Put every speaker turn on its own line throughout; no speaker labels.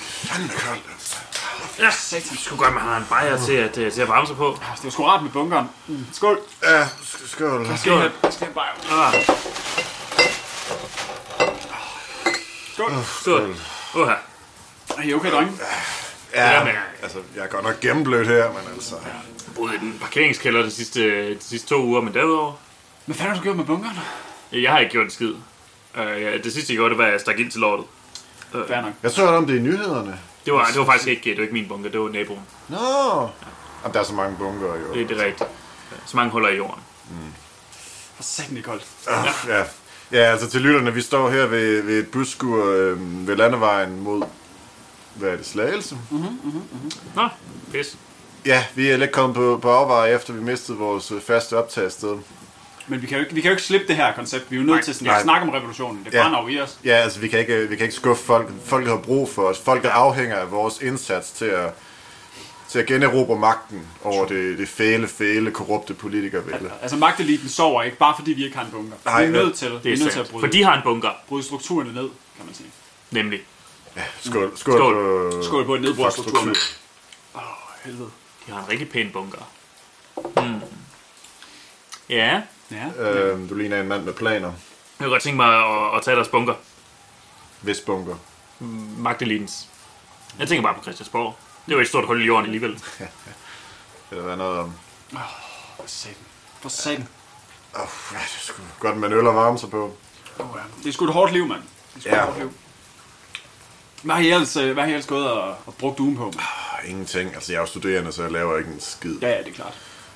fanden koldt. altså.
Ja, satan, skulle godt, man har en bajer til at, øh, til at varme sig på.
Altså, det var sgu rart med bunkeren. Mm. Skål.
Ja, sk- skål.
Skal jeg have, skal jeg have bajer?
Ah,
Skål.
skål. Uha.
Er I okay, drenge?
Ja,
Ja,
men-
altså, jeg er godt nok gennemblødt her, men altså...
Jeg boede i den parkeringskælder de sidste, øh, de sidste to uger, men derudover...
Hvad fanden har du gjort med bunkeren?
Jeg har ikke gjort en skid. Øh, ja, det sidste, jeg gjorde, det var, at jeg stak ind til lortet.
Fair nok.
Jeg så om det i nyhederne.
Det var, det var faktisk ikke, øh, det var ikke min bunker, det var naboen.
Nå! Jamen, der er så mange bunker, jo.
Det, det er rigtigt. Så mange huller i jorden.
For satan, det er koldt.
Ah, Ja. ja, altså til lytterne, vi står her ved, ved et busskur øh, ved landevejen mod, hvad er det, Slagelse?
Nå, pis.
Ja, vi er lidt kommet på, på afveje, efter vi mistede vores øh, faste optagssted.
Men vi kan, jo ikke, vi kan jo ikke slippe det her koncept. Vi er jo nødt
Nej,
til sådan, at
nej.
snakke om revolutionen. Det
Ja.
brænder jo i os.
Ja, altså vi kan ikke, vi kan ikke skuffe folk. Folk har brug for os. Folk afhænger af vores indsats til at, til at generobre magten over det, det fæle, fæle, korrupte politikervælde.
Altså, magteliten sover ikke, bare fordi vi ikke har en bunker.
Nej,
vi er nødt
ja.
til, vi
Det
er
er
nødt til at
sandt.
bryde,
For de har en bunker,
bryde strukturerne ned, kan man sige.
nemlig.
Skål, skål,
Skål.
På,
Skål på et nedbrugsstruktur.
struktur.
Åh, helvede.
De har en rigtig pæn bunker. Mm. Ja,
Ja.
Øh, du ligner en mand med planer.
jeg kunne godt tænke mig at, at tage deres bunker.
Hvis bunker.
Magtelitens. Jeg tænker bare på Christiansborg. Det var et stort hul i jorden alligevel.
Eller hvad noget om.
For satan. For satan.
Oh, det er sgu godt med en øl og varme sig på.
Oh, ja. Det er sgu et hårdt liv, mand. Det er sgu
Ja.
et hårdt liv. Hvad har I ellers, øh, hvad har I ellers gået og, og brugt ugen på? mand?
Ah, Ingenting. Altså, jeg er jo studerende, så jeg laver ikke en skid.
Ja, ja, det er klart.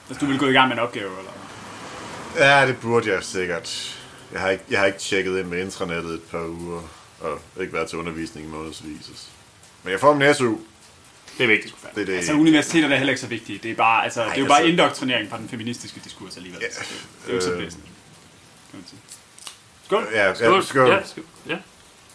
Altså, du ville gå i gang med en opgave, eller?
Ja, det burde jeg sikkert. Jeg har ikke, jeg har ikke tjekket ind med intranettet et par uger, og ikke været til undervisning i månedsvis. Men jeg får min SU.
Det er vigtigt.
Det er det.
Altså, universiteter er heller ikke så vigtige. Det er, bare, altså, det er jo
altså-
bare indoktrinering fra den feministiske diskurs alligevel.
Ja,
Ja. Det er jo ikke så
øh.
blæsende. Kan man sige. Skål.
ja, skål. Ja, skål.
Ja, skål. Ja.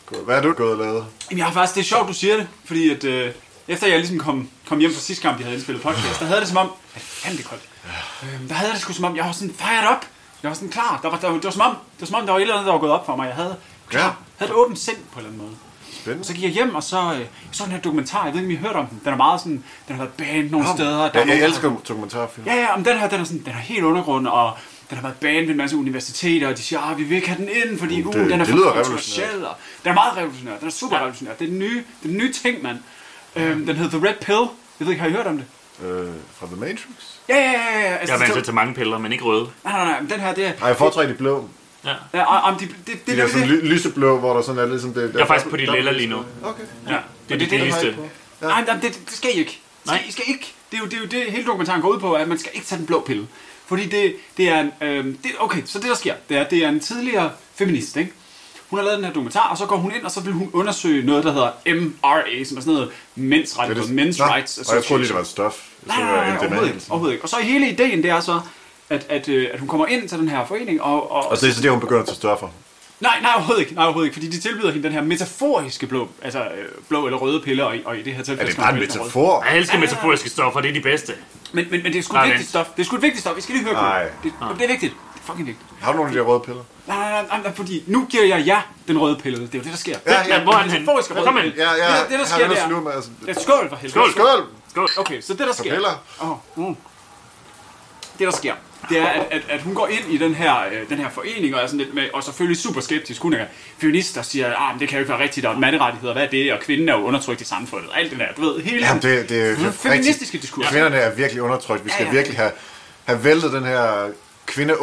skål. Hvad er du gået og lavet?
Jamen, jeg har faktisk, det er sjovt, du siger det, fordi at, øh, efter jeg ligesom kom, kom hjem fra sidste gang, vi havde indspillet podcast, der havde det som om, at fanden det er koldt. Øh, der havde jeg det sgu som om, jeg var sådan fired up. Jeg var sådan klar. Der var, der, var- det, var som om, det var som om, der var et eller andet, der var gået op for mig. Jeg havde, klar,
Ja.
havde et åbent sind på en eller anden måde.
Spændende.
Så gik jeg hjem, og så øh, jeg så den her dokumentar. Jeg ved ikke, om I har hørt om den. Den er meget sådan, den har været banet nogle steder. Der
Ja,
er
jeg,
nogen,
jeg
der-
elsker dokumentarfilm.
Ja, ja, men den her, den er, sådan, den er helt undergrund, og den har været banet ved en masse universiteter, og de siger, ah, vi vil ikke have den ind, fordi uh,
det-
den er
det lyder
for
revolutionært.
kontroversiel. Og, den er meget revolutionær, den er super ja. revolutionær. Det er den nye, det er den nye ting, mand. Øhm, den hedder The Red Pill. Jeg ved ikke, har I hørt om det?
Øh, fra The Matrix?
Ja, ja, ja, ja. ja.
Jeg
Altså,
er vant til
det-
at tage mange piller, men ikke røde.
Nej, nej, nej, men den her, det er...
Nej, jeg foretrækker de blå.
Ja.
Ja, og, om de, det, det,
De
det,
der
det,
sådan
det,
ly- lyseblå, hvor der sådan er ligesom det... Der
Jeg er faktisk på de lilla lige nu.
Okay.
ja.
Det er det
det- det-
billigste.
Ja. Nej, nej, det, det skal I ikke. Nej.
Nej.
I skal ikke. Det er, jo, det er jo det, hele dokumentaren går ud på, at man skal ikke tage den blå pille. Fordi det, det er en... Øh, det, okay, så det der sker, det er, det er en tidligere feminist, ikke? Hun har lavet den her dokumentar, og så går hun ind, og så vil hun undersøge noget, der hedder MRA, som er sådan noget mænds
Det er
rettigheder,
det-
men's
Nå,
rights
Og jeg troede lige, det var et stof. Jeg
Nej,
troede,
nej,
det var
nej,
en
nej,
demand.
overhovedet ikke, overhovedet ikke. Og så er hele ideen, det er så, at, at, øh, at hun kommer ind til den her forening, og, og,
Og så er det så det, hun begynder at tage stoffer.
Nej, nej, overhovedet ikke. Nej, overhovedet ikke. Fordi de tilbyder hende den her metaforiske blå, altså øh, blå eller røde piller, og, i- og i det her tilfælde...
Er det
skal
bare
hun
en
vælge den røde.
metafor?
Jeg elsker metaforiske stoffer, det er de bedste.
Men, men, men det er sgu
Nej,
et vigtigt
vent.
stof. Det er sgu et vigtigt stof. Vi skal lige høre
Nej.
på. Det, det er vigtigt. Det er fucking vigtigt.
Har du nogle af de der røde piller?
Nej, nej, nej, nej, nej, fordi nu giver jeg jer den røde pille. Det er jo det, der sker.
Ja,
Det-
ja,
hvor er den
den
henne?
metaforiske røde
Kom
pille.
ind.
Ja, ja.
Det, det, der
jeg har
sker, det
lyst
er...
nu med, altså-
Det er skål for
Skål.
helvede.
Skål!
Skål.
Okay, så det, der sker...
Propeller.
Åh, mm. Det, der sker, det er, at, at, at hun går ind i den her, øh, den her forening, og er sådan lidt med, og selvfølgelig super skeptisk. Hun er feminist og siger, ah, men det kan jo ikke være rigtigt, og manderettigheder, hvad er det, og kvinden er jo undertrykt i samfundet, og alt det der, du ved, hele
Jamen, det, det, er
den
jo
feministiske
rigtigt.
diskurs.
Kvinderne er virkelig undertrykt. Vi skal
Ja, ja.
virkelig have, have væltet den her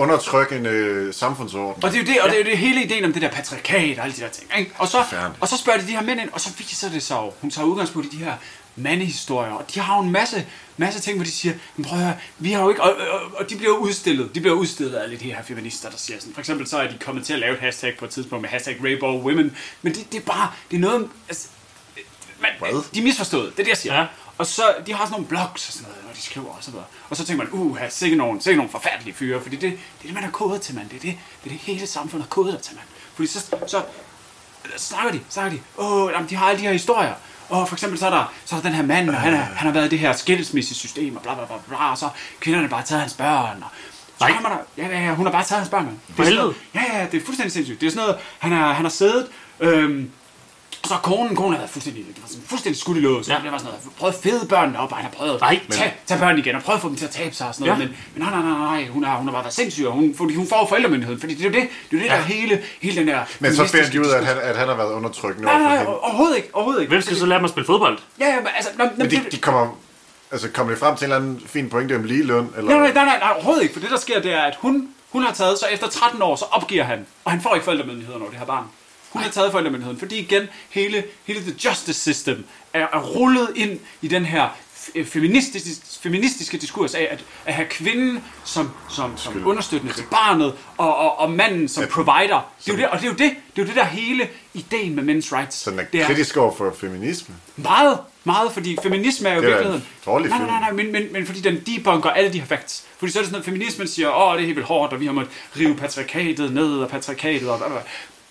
kvindeundertrykkende samfundsorden.
Og det er jo det, og det er jo det hele ideen om det der patriarkat og alle de der ting. Ikke? Og, så,
Forfærdeligt.
og så spørger de de her mænd ind, og så viser det sig jo, hun tager udgangspunkt i de her mandehistorier, og de har jo en masse, masse ting, hvor de siger, men prøv at høre, vi har jo ikke, og, og, og de bliver jo udstillet, de bliver udstillet af alle de her feminister, der siger sådan, for eksempel så er de kommet til at lave et hashtag på et tidspunkt med hashtag Rainbow Women, men det, det er bare, det er noget, altså, man,
Hvad?
øh, de er misforstået, det er det, jeg siger. Ja.
Ja.
Og så, de har sådan nogle blogs og sådan noget, hvor de skriver og sådan noget. Og så tænker man, uh, sikke nogle, sikke nogle forfærdelige fyre, fordi det, det er det, man har kodet til, mand. Det er det, det, er det hele samfundet har kodet dig til, mand. Fordi så, så øh, snakker de, snakker de, åh, oh, de har alle de her historier. Og for eksempel så er der, så er der den her mand, og han, er, han har været i det her skilsmissesystem, og bla bla bla bla, og så kvinderne har bare taget hans børn, og så
Nej.
kommer der, ja, ja, ja, hun har bare taget hans børn, mand. Det er
For
sådan noget-
helvede.
Ja, ja, det er fuldstændig sindssygt. Det er sådan noget, han har, han har siddet, øhm, Og så konen, konen har været fuldstændig, det var sådan, fuldstændig skudt i låget, så
Ja.
ja. det var sådan noget, prøv at fede børnene op, og han har prøvet
Nej,
at tage, tage børnene igen, og prøv at få dem til at tabe sig og sådan noget,
Ja.
ja. men, men nej, nej, nej, nej, hun har, hun har bare været sindssyg, og hun, fordi hun får forældremyndigheden, fordi det er jo det, det er jo det
Ja.
ja. der hele, hele den der...
Men så finder de
feministiske
ud af, at han, at han har været undertrykkende
Nej,
overfor
nej, nej,
hende.
overhovedet ikke, overhovedet ikke.
Hvem skal så lære mig at spille fodbold?
Ja, ja, men altså... Nå, nå,
Men de,
det-
de kommer... Altså, kommer de frem til en eller anden fin pointe om ligeløn? Eller?
Nej, nej, nej, nej, nej, overhovedet ikke, for det der sker, det er, at hun, hun har taget, så efter 13 år, så opgiver han, og han får ikke forældremyndigheden over det her barn. Hun har taget forældremyndigheden, fordi igen, hele, hele the justice system er, er rullet ind i den her f- feministiske, feministiske diskurs af at, at have kvinden som, som, som understøttende til barnet, og, og, og manden som provider. Det er jo det, og det er jo det, det, er jo det der hele ideen med men's rights.
Så den er
det
kritisk over for feminisme.
meget, meget, fordi feminisme er jo
Det er da en
virkeligheden.
dårlig
nej, nej,
film.
nej, nej, men, men, men fordi den debunker alle de her facts. Fordi så er det sådan noget, feminismen siger, åh, det er helt vildt hårdt, og vi har måttet rive patriarkatet ned, og patriarkatet, og hvad, hvad.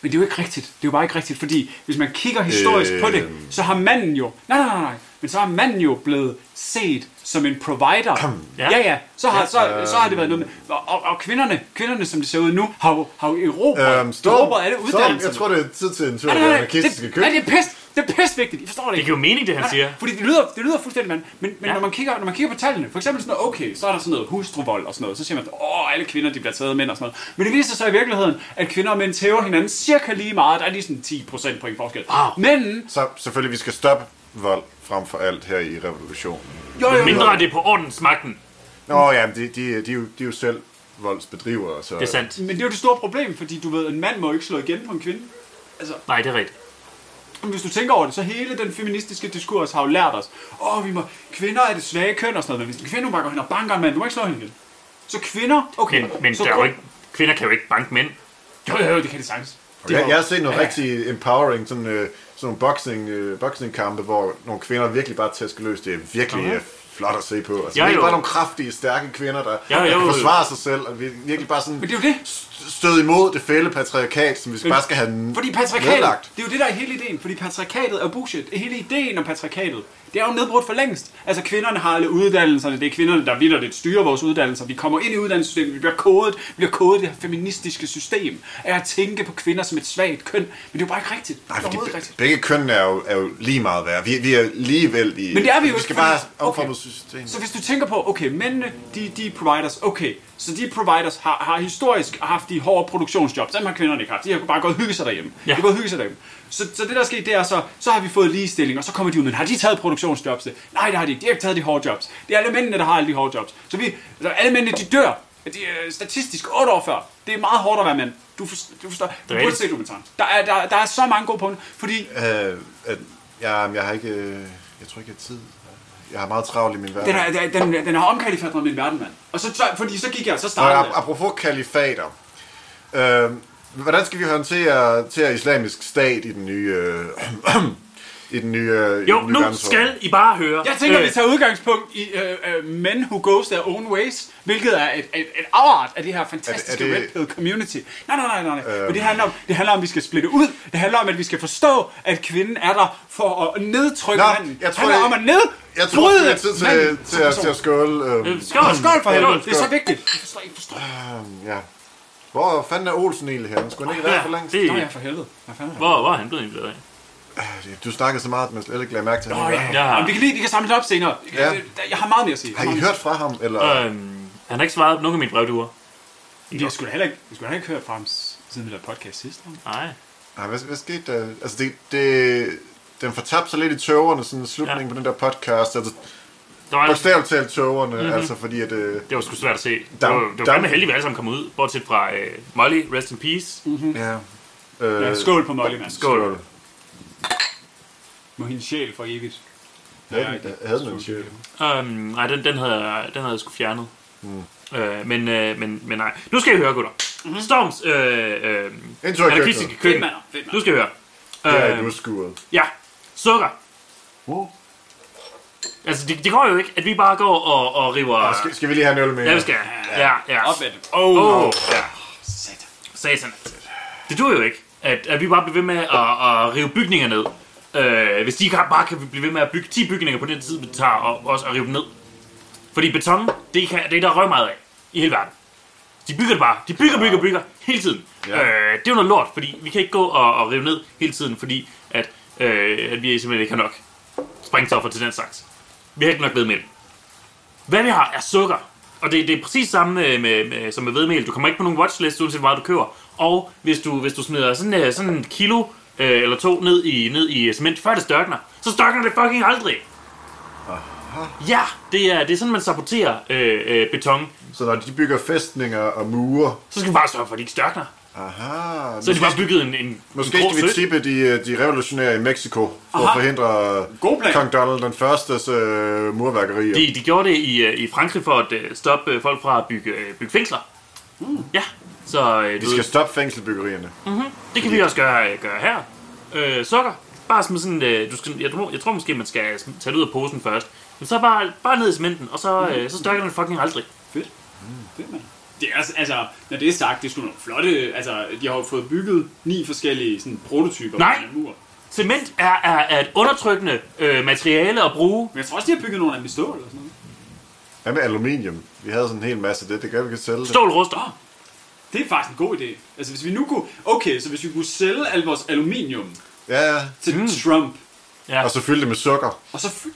Men det er jo ikke rigtigt. Det er jo bare ikke rigtigt, fordi hvis man kigger historisk øh... på det,
Øhm.
så har manden jo... Nej, nej, nej, nej. Men så har manden jo blevet set som en provider.
Ja.
ja, ja. Så har, så, så har det været noget med... Og, og, og kvinderne, kvinderne, som det ser ud nu, har jo, har jo erobret,
Øhm,
erobret alle
Storm,
uddannelserne.
jeg tror, det er tid til en tur til
Nej, nej,
den
nej,
anarkistiske
det,
køkken.
nej, det er pis, det er pis vigtigt, I forstår det
Det
ikke.
giver jo mening, det han siger.
Fordi det lyder, det lyder fuldstændig mand. Men, men
Ja.
ja. når, man kigger, når man kigger på tallene, for eksempel sådan noget, okay, så er der sådan noget hustruvold og sådan noget, så siger man, åh, alle kvinder de bliver taget af mænd og sådan noget. Men det viser sig i virkeligheden, at kvinder og mænd tæver hinanden cirka lige meget. Der er lige sådan 10 procent point forskel.
Wow.
Men,
Så selvfølgelig, vi skal stoppe vold frem for alt her i revolutionen.
jo, jo, jo,
Mindre er det på ordensmagten.
Nå ja, men de, de, de, er jo, de er jo selv voldsbedrivere, så...
Det er sandt.
men det er jo det store problem, fordi du ved, en mand må jo ikke slå igen på en kvinde. Altså,
Nej, det er rigtigt.
Men hvis du tænker over det, så hele den feministiske diskurs har jo lært os, åh, vi må, kvinder er det svage køn og sådan noget, men hvis en kvinde bakker hen og banker en mand, du må ikke slå hende igen. Så kvinder, okay.
Men, men
så
der er jo
kun-
ikke, kvinder kan jo ikke banke mænd.
Jo, jo, jo, det kan det sagtens. Det
Jeg,
var-
jeg har set noget
Ja.
rigtig empowering, sådan, øh, sådan nogle boxing, øh, boxingkampe, hvor nogle kvinder virkelig bare tæsker løs. Det er virkelig øh, flot at se på. Altså,
Ja,
det er ikke
jo.
bare nogle kraftige, stærke kvinder, der
Ja,
der
jo, jo.
kan forsvare sig selv, og vir- virkelig bare sådan
Men det er jo det.
st- stød imod det fælde patriarkat, som vi skal bare skal have n-
Fordi patriarkatet,
nedlagt.
det er jo det, der er hele ideen. Fordi patriarkatet er bullshit. Hele ideen om patriarkatet, det er jo nedbrudt for længst. Altså kvinderne har alle uddannelserne, det er kvinderne, der vildt lidt styrer vores uddannelser. Vi kommer ind i uddannelsessystemet, vi bliver kodet, vi bliver kodet i det her feministiske system af at tænke på kvinder som et svagt køn. Men det er jo bare ikke rigtigt.
Nej,
det er
fordi
overhovedet
be-
rigtigt.
begge køn er jo, er jo lige meget værd. Vi, vi er ligevel i...
Men det er vi jo
Vi
ikke,
skal
fordi-
bare have omformet
okay.
systemet.
Så hvis du tænker på, okay, mændene, de, de er providers, okay, så de providers har, har historisk haft de hårde produktionsjobs, dem har kvinderne ikke haft, de har bare gået og hygget sig derhjemme.
Ja.
Ja. De har gået og hygget sig derhjemme. Så, så det der er sket, det er så, så har vi fået ligestilling, og så kommer de ud, men har de taget produktionsjobsene? Nej, det har de ikke, de har ikke taget de hårde jobs. Det er alle mændene, der har alle de hårde jobs. Så vi, altså, alle mændene, de dør, de, øh, statistisk 8 år før. Det er meget hårdt at være mand. Du, forstår, du forstår, du
er
burde
rigtigt.
se dokumentaren. Der er, der, der er så mange gode punkter, fordi
Øh, at, jeg, jeg har ikke... øh, Jeg tror ikke, jeg har tid. Jeg har meget travlt i min hverdag.
Den, er, den, den, den har omkalifadret min verden, mand. Og så, så, fordi så gik jeg, så
Og
startede
ap-
jeg.
apropos kalifater. Øh, hvordan skal vi håndtere til islamisk stat i den nye... Øh, I den nye... Øh,
Jo,
i den nye
nu
verdensorden?
skal I bare høre.
Jeg tænker,
Øh,
vi tager udgangspunkt i uh, uh, Men Who Goes Their Own Ways, hvilket er et, et, et afart af det her fantastiske
Er
er
det- er
det,
det- Øh.
red pill community. Nej, nej, nej, nej. nej. Men det handler, om, det handler om, at vi skal splitte ud. Det handler om, at vi skal forstå, at kvinden er der for at nedtrykke
Nå,
manden.
jeg tror,
det handler
jeg-
om at nedbryde
Jeg tror, det er tid til,
manden
til,
som
til, at-
person.
til at skåle.
øh,
Øh,
Skål,
Skål for helvede, det er så
Skål.
vigtigt. Jeg forstår, jeg forstår.
ja. Hvor fanden er Olsen egentlig henne? Skulle han ikke være for længst?
Det,
Nå ja, for helvede. Hvad fanden er det?
hvor, hvor er han blevet inviteret af?
Du snakkede så meget, at man slet ikke lagde mærke til
Nå
ham.
ja,
Ja.
ja. Jamen, vi kan lige, vi kan samle det op senere.
Ja.
Jeg, jeg har meget mere at sige. Jeg
Har
meget
I
mere.
hørt fra ham? Eller?
Øhm, han har ikke svaret på nogen af mine brevduer.
Vi har sgu da heller ikke, vi skulle da heller ikke hørt fra ham, s- siden vi lavede podcast sidst. ikke?
Nej.
Nej, hvad, hvad skete der? Altså, det, det, den fortabte sig lidt i tøverne, sådan slutningen
Ja.
ja. på den der podcast. Altså,
Der var,
bogstaveligt talt tøverne,
Mhm.
mm-hmm. altså fordi at... Øh,
det var sgu svært at se. Det
Der-
var, det var
der-
fandme heldigt, at vi alle sammen kom ud. Bortset fra øh, Molly, rest in peace. Mm-hmm.
ja. Øh,
Ja, skål på Molly, mand.
Skål.
Må hendes sjæl for evigt.
Havde den, havde den en sjæl?
Øhm, nej, den, den, havde, jeg- den havde jeg sgu fjernet. Mm. Øh, men, øh, men, men nej. Nu skal I høre, gutter.
Mhm.
Mm-hmm. Storms øh, øh,
Ind til køkkenet.
anarkistiske
Fedt,
køkken.
mand. Fedt, mand.
Nu skal I høre.
Det er
Øhm,
ikke udskuret.
Ja, sukker. Altså, det, det går jo ikke, at vi bare går og, og river... Ja,
Skal, skal vi lige have en øl mere?
vi skal. Ja, ja.
Op med den. Åh, oh,
Åh,
oh.
ja.
satan.
Satan. Det dur jo ikke, at, at vi bare bliver ved med at, at rive bygninger ned. Øh, hvis de ikke bare kan blive ved med at bygge 10 bygninger på den tid, det tager og, også at rive dem ned. Fordi beton, det, kan, det er der røv meget af i hele verden. De bygger det bare. De bygger, bygger, bygger hele tiden.
Ja.
Øh, det er jo noget lort, fordi vi kan ikke gå og, og rive ned hele tiden, fordi at øh, at vi simpelthen ikke har nok springstoffer til den slags. Vi har ikke nok vedmel. Hvad vi har er sukker. Og det, det er præcis samme øh, med, med, som med vedmel. Du kommer ikke på nogen watchlist, uanset hvor meget du køber. Og hvis du, hvis du smider sådan, øh, sådan en kilo øh, eller to ned i, ned i øh, cement, før det størkner, så størkner det fucking aldrig. Ja, det er, det er sådan, man saboterer øh, øh, beton.
Så når de bygger fæstninger og mure...
Så skal vi bare sørge for, at de ikke størkner.
Aha.
Så er de bare bygget en, en,
Måske
en grå
skal vi
sø.
tippe de, øh, de revolutionære i Mexico for
Aha.
at forhindre øh,
God plan.
kong Donald den Førstes øh, murværkerier.
De, de gjorde det i, øh, i Frankrig for at øh, stoppe øh, folk fra at bygge, øh, bygge fængsler. Mm. Ja, så øh,
Vi
du,
skal
ved,
stoppe fængselbyggerierne.
det kan vi også gøre, øh, gøre her. Øh, sukker. Bare som sådan, øh, du skal, jeg, tror, jeg tror måske, man skal sm- tage det ud af posen først. Men så bare, bare ned i cementen, og så, øh, så størker den fucking aldrig.
Fedt. Fedt, mand. Det er, altså- altså, når det er sagt, det er sgu nogle flotte... Altså, de har jo fået bygget ni forskellige sådan, prototyper
Nej.
på den her mur.
Cement er, er, er et undertrykkende øh, materiale at bruge.
Men jeg tror også, de har bygget nogle af dem i stål eller sådan noget.
Hvad med aluminium? Vi havde sådan en hel masse af det. Det gør, vi kan sælge det.
Stål ruster.
Det er faktisk en god idé. Altså, hvis vi nu kunne... Okay, så hvis vi kunne sælge al vores aluminium
Ja, ja.
til mm. Trump,
Ja.
Og så fylde det med sukker.
og så... Fy-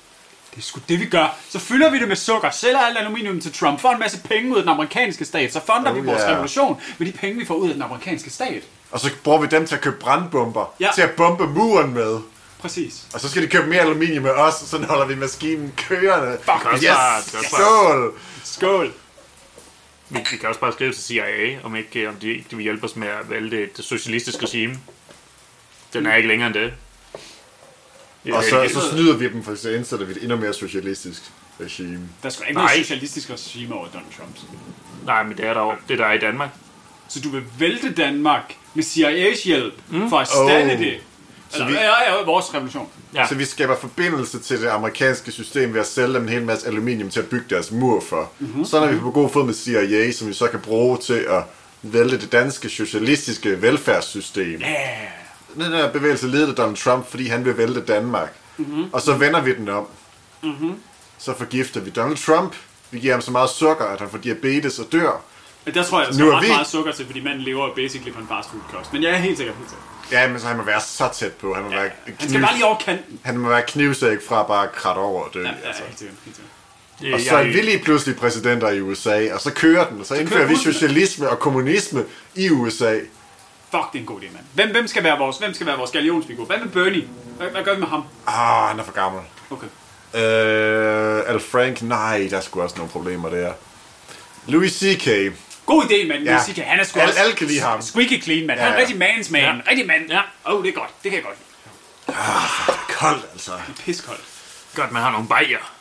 det er sgu det, vi gør. Så fylder vi det med sukker, sælger al aluminium til Trump, får en masse penge ud af den amerikanske stat, så funder
Oh,
vi vores
yeah.
revolution med de penge, vi får ud af den amerikanske stat.
Og så bruger vi dem til at købe brandbomber.
Ja.
Til at bombe muren med.
Præcis.
Og så skal de købe mere aluminium med os, og så holder vi maskinen kørende.
Fuck,
også
yes,
bare- det er også bare-
stål!
Skål.
Vi, vi kan også bare skrive til CIA, om ikke øh, om de ikke vil hjælpe os med at vælge det, det socialistiske regime. Den er ikke længere end det. Øh, Ja,
Og så,
ja,
så snyder vi dem, for så indsætter vi et endnu mere socialistisk regime.
Der skal ikke
Nej.
noget socialistisk regime over Donald Trump.
Nej, men det er der jo. Det er der er i Danmark.
Så du vil vælte Danmark med CIA's hjælp mm. for at stande
Oh.
oh. det. Eller,
vi-
vi... ja, ja, vores revolution.
Ja.
Så vi skaber forbindelse til det amerikanske system ved at sælge dem en hel masse aluminium til at bygge deres mur for.
Mhm.
Mm-hmm. Sådan er vi på god fod med CIA, som vi så kan bruge til at vælte det danske socialistiske velfærdssystem.
Ja.
Den her bevægelse ledet af Donald Trump, fordi han vil vælte Danmark. Mm-hmm.
Mhm.
Og så vender vi den om. Mm-hmm. Så forgifter vi Donald Trump. Vi giver ham så meget sukker, at han får diabetes og dør.
Men Der tror jeg, der
Nu
skal
er
ret
vi-
meget sukker til, fordi manden lever jo basically på en fast food kost. Men jeg er helt sikker på det.
Ja, men så han må være så tæt på. Han må, være,
Han skal
kniv...
bare lige over kanten.
han må være knivsæk fra bare at kratte over og dø.
Ja, ja,
altså.
helt sikkert, helt sikkert.
Det,
Og så er vi lige pludselig præsidenter i USA, og så kører den, og så indfører vi
kører den.
socialisme og kommunisme i USA.
Fuck, det er en god idé, mand. Hvem, hvem skal være vores, hvem skal være vores galionsfigur? Hvad med Bernie? Hvad, hvad gør vi med ham?
Ah, han er for gammel.
Okay.
Øh, Al Frank, nej, der er sgu også nogle problemer der. Louis C.K.
God idé, mand.
Ja.
Ja. Musica, han er sgu
Alle-
også
alle kan lide ham.
Squeaky clean, mand. Ja, ja. Han
Ja,
er
ja.
rigtig man's man.
Ja.
Ja. Rigtig mand.
Ja.
Åh, oh, det er godt. Det kan jeg godt lide.
Kold, altså.
Piskoldt.
Godt, man har nogle bajer.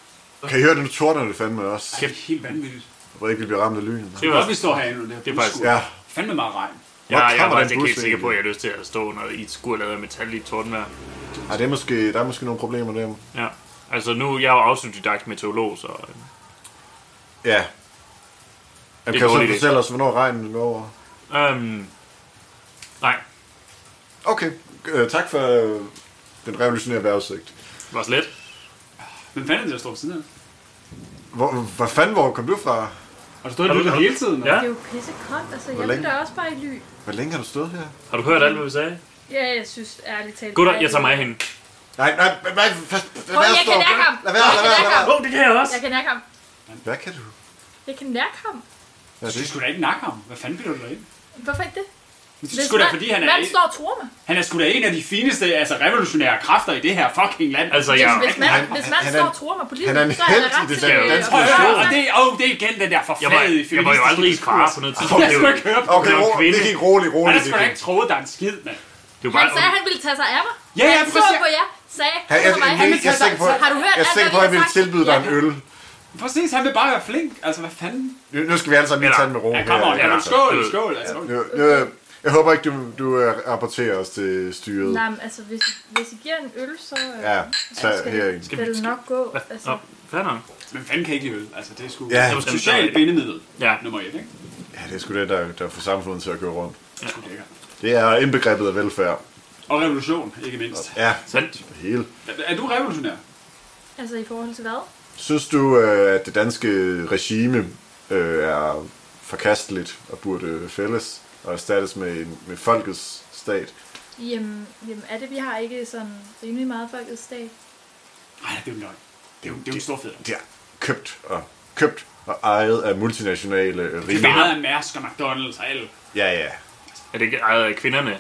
Kan I høre, det nu tordner det fandme også.
Det er helt vanvittigt.
Jeg ved ikke, vi bliver ramt af lynet.
Det
Det er
var,
godt, vi står herinde nu. Det,
Det er faktisk-
Ja,
Fandme meget regn.
jeg, jeg, er
kommer
faktisk
den
ikke helt
bus
sikker på, at
egentlig?
jeg har lyst til at stå under i et skur lavet af metal i et tordenvejr.
Ej, det er måske, der er måske nogle problemer der.
Ja. Altså nu, jeg er jo autodidakt meteorolog, så... øh,
Ja. Jamen,
en
kan du
dårlig
så
idé.
fortælle os, hvornår regnen går over?
Øhm, nej,
Okay, øh, tak for øh, den revolutionære vejrudsigt.
det var slet.
Hvem fanden er det, der står ved siden af?
Hvor, hvad fanden, hvor kom du fra?
Har du stået i lyden hele tiden?
Ja.
Ja.
Det er jo pisse koldt, altså. Jeg vil
længe?
da også bare i ly.
Hvor længe har du stået her?
Har du hørt alt, hvad vi sagde?
Ja, jeg synes ærligt talt...
Gutter, jeg tager mig af hende.
Nej, nej, nej, nej, fast. Lad
Prøv, jeg kan
Storm.
nærke ham.
Lad være,
Jeg
lad
kan
være, lad
nærke
være.
Åh, oh, det kan jeg også!
Jeg kan nærke ham.
Hvad kan du?
Jeg kan nærke ham.
Ja,
Du
det,
skulle da ikke nakke ham. Hvad fanden bilder du dig ind?
Hvorfor ikke det?
Det er sgu da,
man-
fordi han er,
man
en,
står og tror mig.
han er sgu da en af de fineste altså, revolutionære kræfter i det her fucking land.
Altså, jeg...
Hvis, hvis man,
han-
hvis man
han er
står
en-
og tror mig på
han
livet,
er en
så er
helt
jeg
i
ret
det
til...
der
øh,
danske
at
Prøv at høre, og
forsvare
det,
mig.
oh, det er igen den der
Jeg var,
forfærdelige
jeg var jo aldrig i fare på noget tidspunkt.
Jeg
Det
skulle
var,
ikke høre på.
okay,
Det var
ro,
kvinde.
det gik roligt,
Han er
roligt.
sgu
Det
da
gik.
ikke troet, der er en skid, mand.
det var
Han
bare...
sagde, at han ville tage sig af mig.
Ja, ja,
han så
præcis.
på jer, sagde...
Jeg, jeg,
"Kom til mig."
jeg, jeg, jeg, er sikker på,
Har du hørt
jeg er
alt,
sikker
hvad
på,
vi
at jeg vil
har sagt?
tilbyde dig en
Ja.
øl.
Præcis, han vil bare være flink. Altså, hvad fanden?
Nu- Nu skal vi alle sammen lige
Eller-
tage den med ro.
Ja, kom on.
her,
Ja, men
altså.
skål, skål. Altså, okay.
Nu- nu, øh, Jeg håber ikke, du, du øh, rapporterer os til styret.
Nej, men altså, hvis, hvis I giver en øl, så... øh,
Ja, tag
skal
her en.
det, skal det nok gå. Altså,
Nå, fair nok.
Men fanden kan ikke lide øl. Altså, det er sgu...
Ja,
Det er sgu socialt bindemiddel.
Ja.
Nummer et, ikke?
ja, det er sgu det, der, der får samfundet til at køre rundt.
Det er sgu lækkert.
Det er indbegrebet af velfærd.
Og revolution, ikke mindst.
Ja,
Sandt.
det hele.
Er- Er du revolutionær?
altså, i forhold til hvad?
Synes du, øh, at det danske regime øh, er forkasteligt og burde fælles og erstattes med, en, med folkets stat?
Jamen, jamen, er det, vi har ikke sådan rimelig meget folkets dag?
Nej, det er jo løgn. Det er jo, det er jo en stor fed.
Det er købt og købt og ejet af multinationale øh,
Det
rige.
er meget af Mærsk og McDonald's og alle.
Ja, ja.
Er det ikke ejet af kvinderne?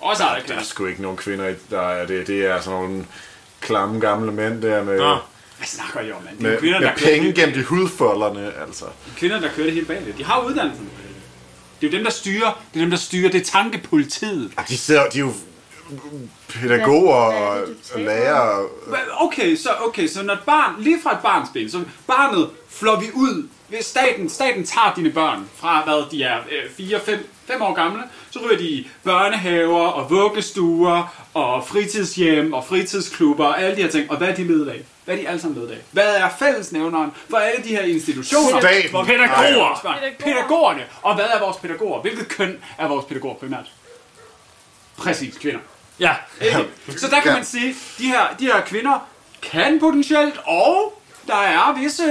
Også ejet af
Der er
kvinder.
sgu ikke nogen kvinder, i- der er det. Det er sådan nogle klamme gamle mænd der med,
Nå.
Hvad snakker I om, mand? Det er
med,
jo kvinder, der
med
kører,
penge
det,
gennem de hudfolderne, altså.
kvinder, der kører det hele bagved. De har uddannelsen. Det er jo dem, der styrer. Det er dem, der styrer. Det er tankepolitiet.
De, sidder, de er jo pædagoger
Hvad- hvad er
og,
det, du
og
taler
lærere. og-
Hva- Okay, så, okay, så når et barn, lige fra et barns ben, så barnet flår vi ud. Hvis Staten, staten tager dine børn fra, hvad de er, øh, 4-5 år gamle, så ryger de i børnehaver og vuggestuer og fritidshjem og fritidsklubber og alle de her ting. Og hvad er de ledet af? Hvad er de alle sammen ledet af? Hvad er fællesnævneren for alle de her institutioner?
Staten.
Hvor-
Pædagoger.
Vores børn.
Pædagoger.
Pædagogerne. Og hvad er vores pædagoger? Hvilket køn er vores pædagoger primært? Præcis, kvinder.
Ja.
Ikke? Så der kan man sige, de her, de her kvinder kan potentielt, og der er visse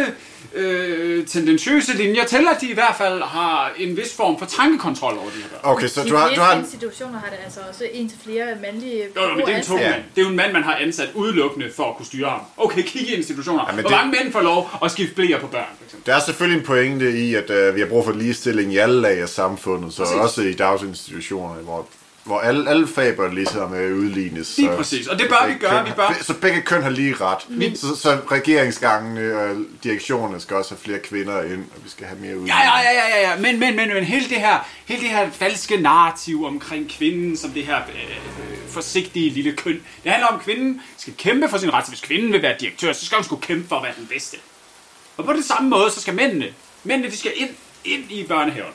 øh, tendensiøse linjer til, at de i hvert fald har en vis form for tankekontrol over de her børn.
Okay, så
De
du har, du
fleste
har en,
institutioner har det altså også en til flere mandlige
Jo, jo, men det er en tung
Ja.
mand. Det er jo en mand, man har ansat udelukkende for at kunne styre ham. Okay, kig i institutioner.
Ja, men
Hvor
det-
mange mænd får lov at skifte blæer på børn, for eksempel?
der er selvfølgelig en pointe i, at øh, vi har brug for ligestilling i alle lag af samfundet, så
Præcis.
også i daginstitutionerne, hvor, hvor alle, alle fag bør ligesom øh, udlignes.
Lige
så-
præcis, og det bør vi
begge
gøre,
køn
vi
har-
bør-
be- Så begge køn har lige ret. Så, så regeringsgangene og direktionerne skal også have flere kvinder ind, og vi skal have mere ud.
Ja, ja, ja, ja, ja, ja. Men, men, men, men hele det her, hele det her falske narrativ omkring kvinden som det her øh, øh, forsigtige lille køn. Det handler om, at kvinden skal kæmpe for sin ret. Så hvis kvinden vil være direktør, så skal hun skulle kæmpe for at være den bedste. Og på den samme måde, så skal mændene. Mændene, de skal ind, ind i børnehaverne.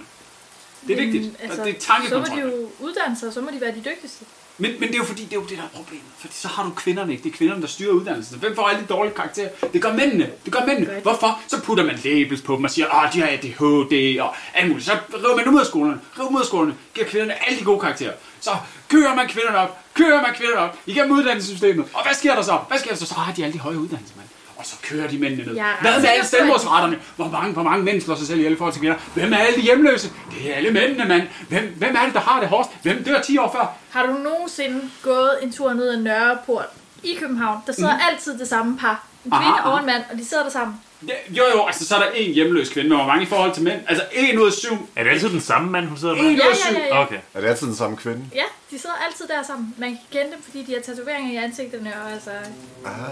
Det er vigtigt. Altså, det er
så må de
tankekontrol.
jo uddanne sig, og så må de være de dygtigste.
Men, men det er jo fordi, det er jo det, der er problemet. Fordi så har du kvinderne ikke. Det er kvinderne, der styrer uddannelsen. Så Hvem får alle de dårlige karakterer? Det gør mændene. Det gør mændene.
Godt.
Hvorfor? Så putter man labels på dem og siger, at de har ADHD og alt muligt. Så river man dem ud af skolerne. River dem ud af skolerne. Giver kvinderne alle de gode karakterer. Så kører man kvinderne op. Kører man kvinderne op. Igennem uddannelsessystemet. Og hvad sker der så? Hvad sker der så? Så har de alle de høje uddannelser, mand. Og så kører de mændene ned.
altså, Jeg er
Hvad med alle
ret sikker på, at de-
stemmeretterne? Hvor mange, hvor mange mænd slår sig selv ihjel i forhold til kvinder? Hvem er alle de hjemløse? Det er alle mændene, mand. Hvem, hvem er det, der har det hårdest? Hvem dør 10 år før?
Har du nogensinde gået en tur ned ad Nørreport i København? Der sidder altid det samme par. En
Mm. Aha,
kvinde
aha.
og en mand, og de sidder der sammen.
Ja, Jo, jo, altså så er der en hjemløs kvinde, men hvor mange i forhold til mænd? Altså en ud af syv.
Er det altid den samme mand, hun sidder
En ud
med?
Ja,
af
ja,
syv.
ja, ja.
Okay.
Er det altid den samme kvinde?
Ja, de sidder altid der sammen. Man kan kende dem, fordi de har tatoveringer i ansigterne, og altså,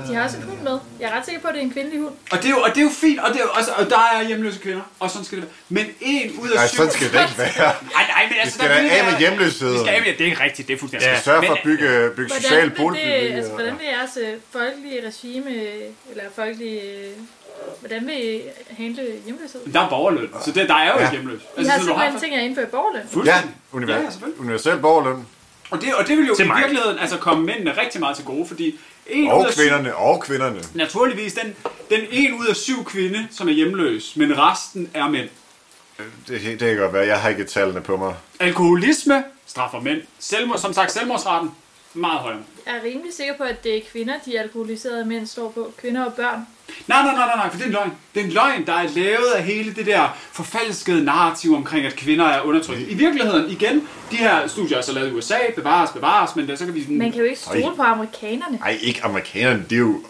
de har også en hund med. Jeg er ret sikker på, at det er en kvindelig hund.
Og det er jo, og det er jo fint, og, det er jo, altså, og der er hjemløse kvinder, og sådan skal det være. Men en ud af
Nej,
syv...
sådan skal det ikke være.
Ej, nej, men
Vi
altså...
skal
der
da
vil
af med
være-
hjemløsheden.
Vi skal af med, det er ikke rigtigt, det er fuldstændig...
Ja.
Ja.
Sørg for at bygge, bygge
Hvordan
social
vil, det,
boligbyggeri.
altså, hvordan vil jeres øh, folkelige regime, øh, eller folkelige... øh, Hvordan vil I handle hjemløshed?
Der er borgerløn, så det, der er jo
Ja.
ja. hjemløs. Altså,
I har
så
simpelthen tænkt jer at indføre borgerløn.
Ja,
Fuldstændig.
univer-
Ja, selvfølgelig.
universel borgerløn.
Og det, og det vil jo
Til
i
mig.
virkeligheden altså komme mændene rigtig meget til gode, fordi en
Og
ud af syv
kvinderne, og kvinderne.
Naturligvis, den, den en ud af syv kvinde, som er hjemløs, men resten er mænd.
Det, det kan godt være, jeg har ikke tallene på mig.
Alkoholisme straffer mænd. Selvmord, som sagt, selvmordsraten meget højere.
Jeg er rimelig sikker på, at det er kvinder, de alkoholiserede mænd står på. Kvinder og børn.
Nej, nej, nej, nej, nej, for det er en løgn. Det er en løgn, der er lavet af hele det der forfalskede narrativ omkring, at kvinder er undertrykt. I virkeligheden, igen, de her studier er så lavet i USA, bevares, bevares, men der, så kan vi...
Man kan jo ikke stole
Ej.
på amerikanerne.
Nej, ikke amerikanerne. Det er jo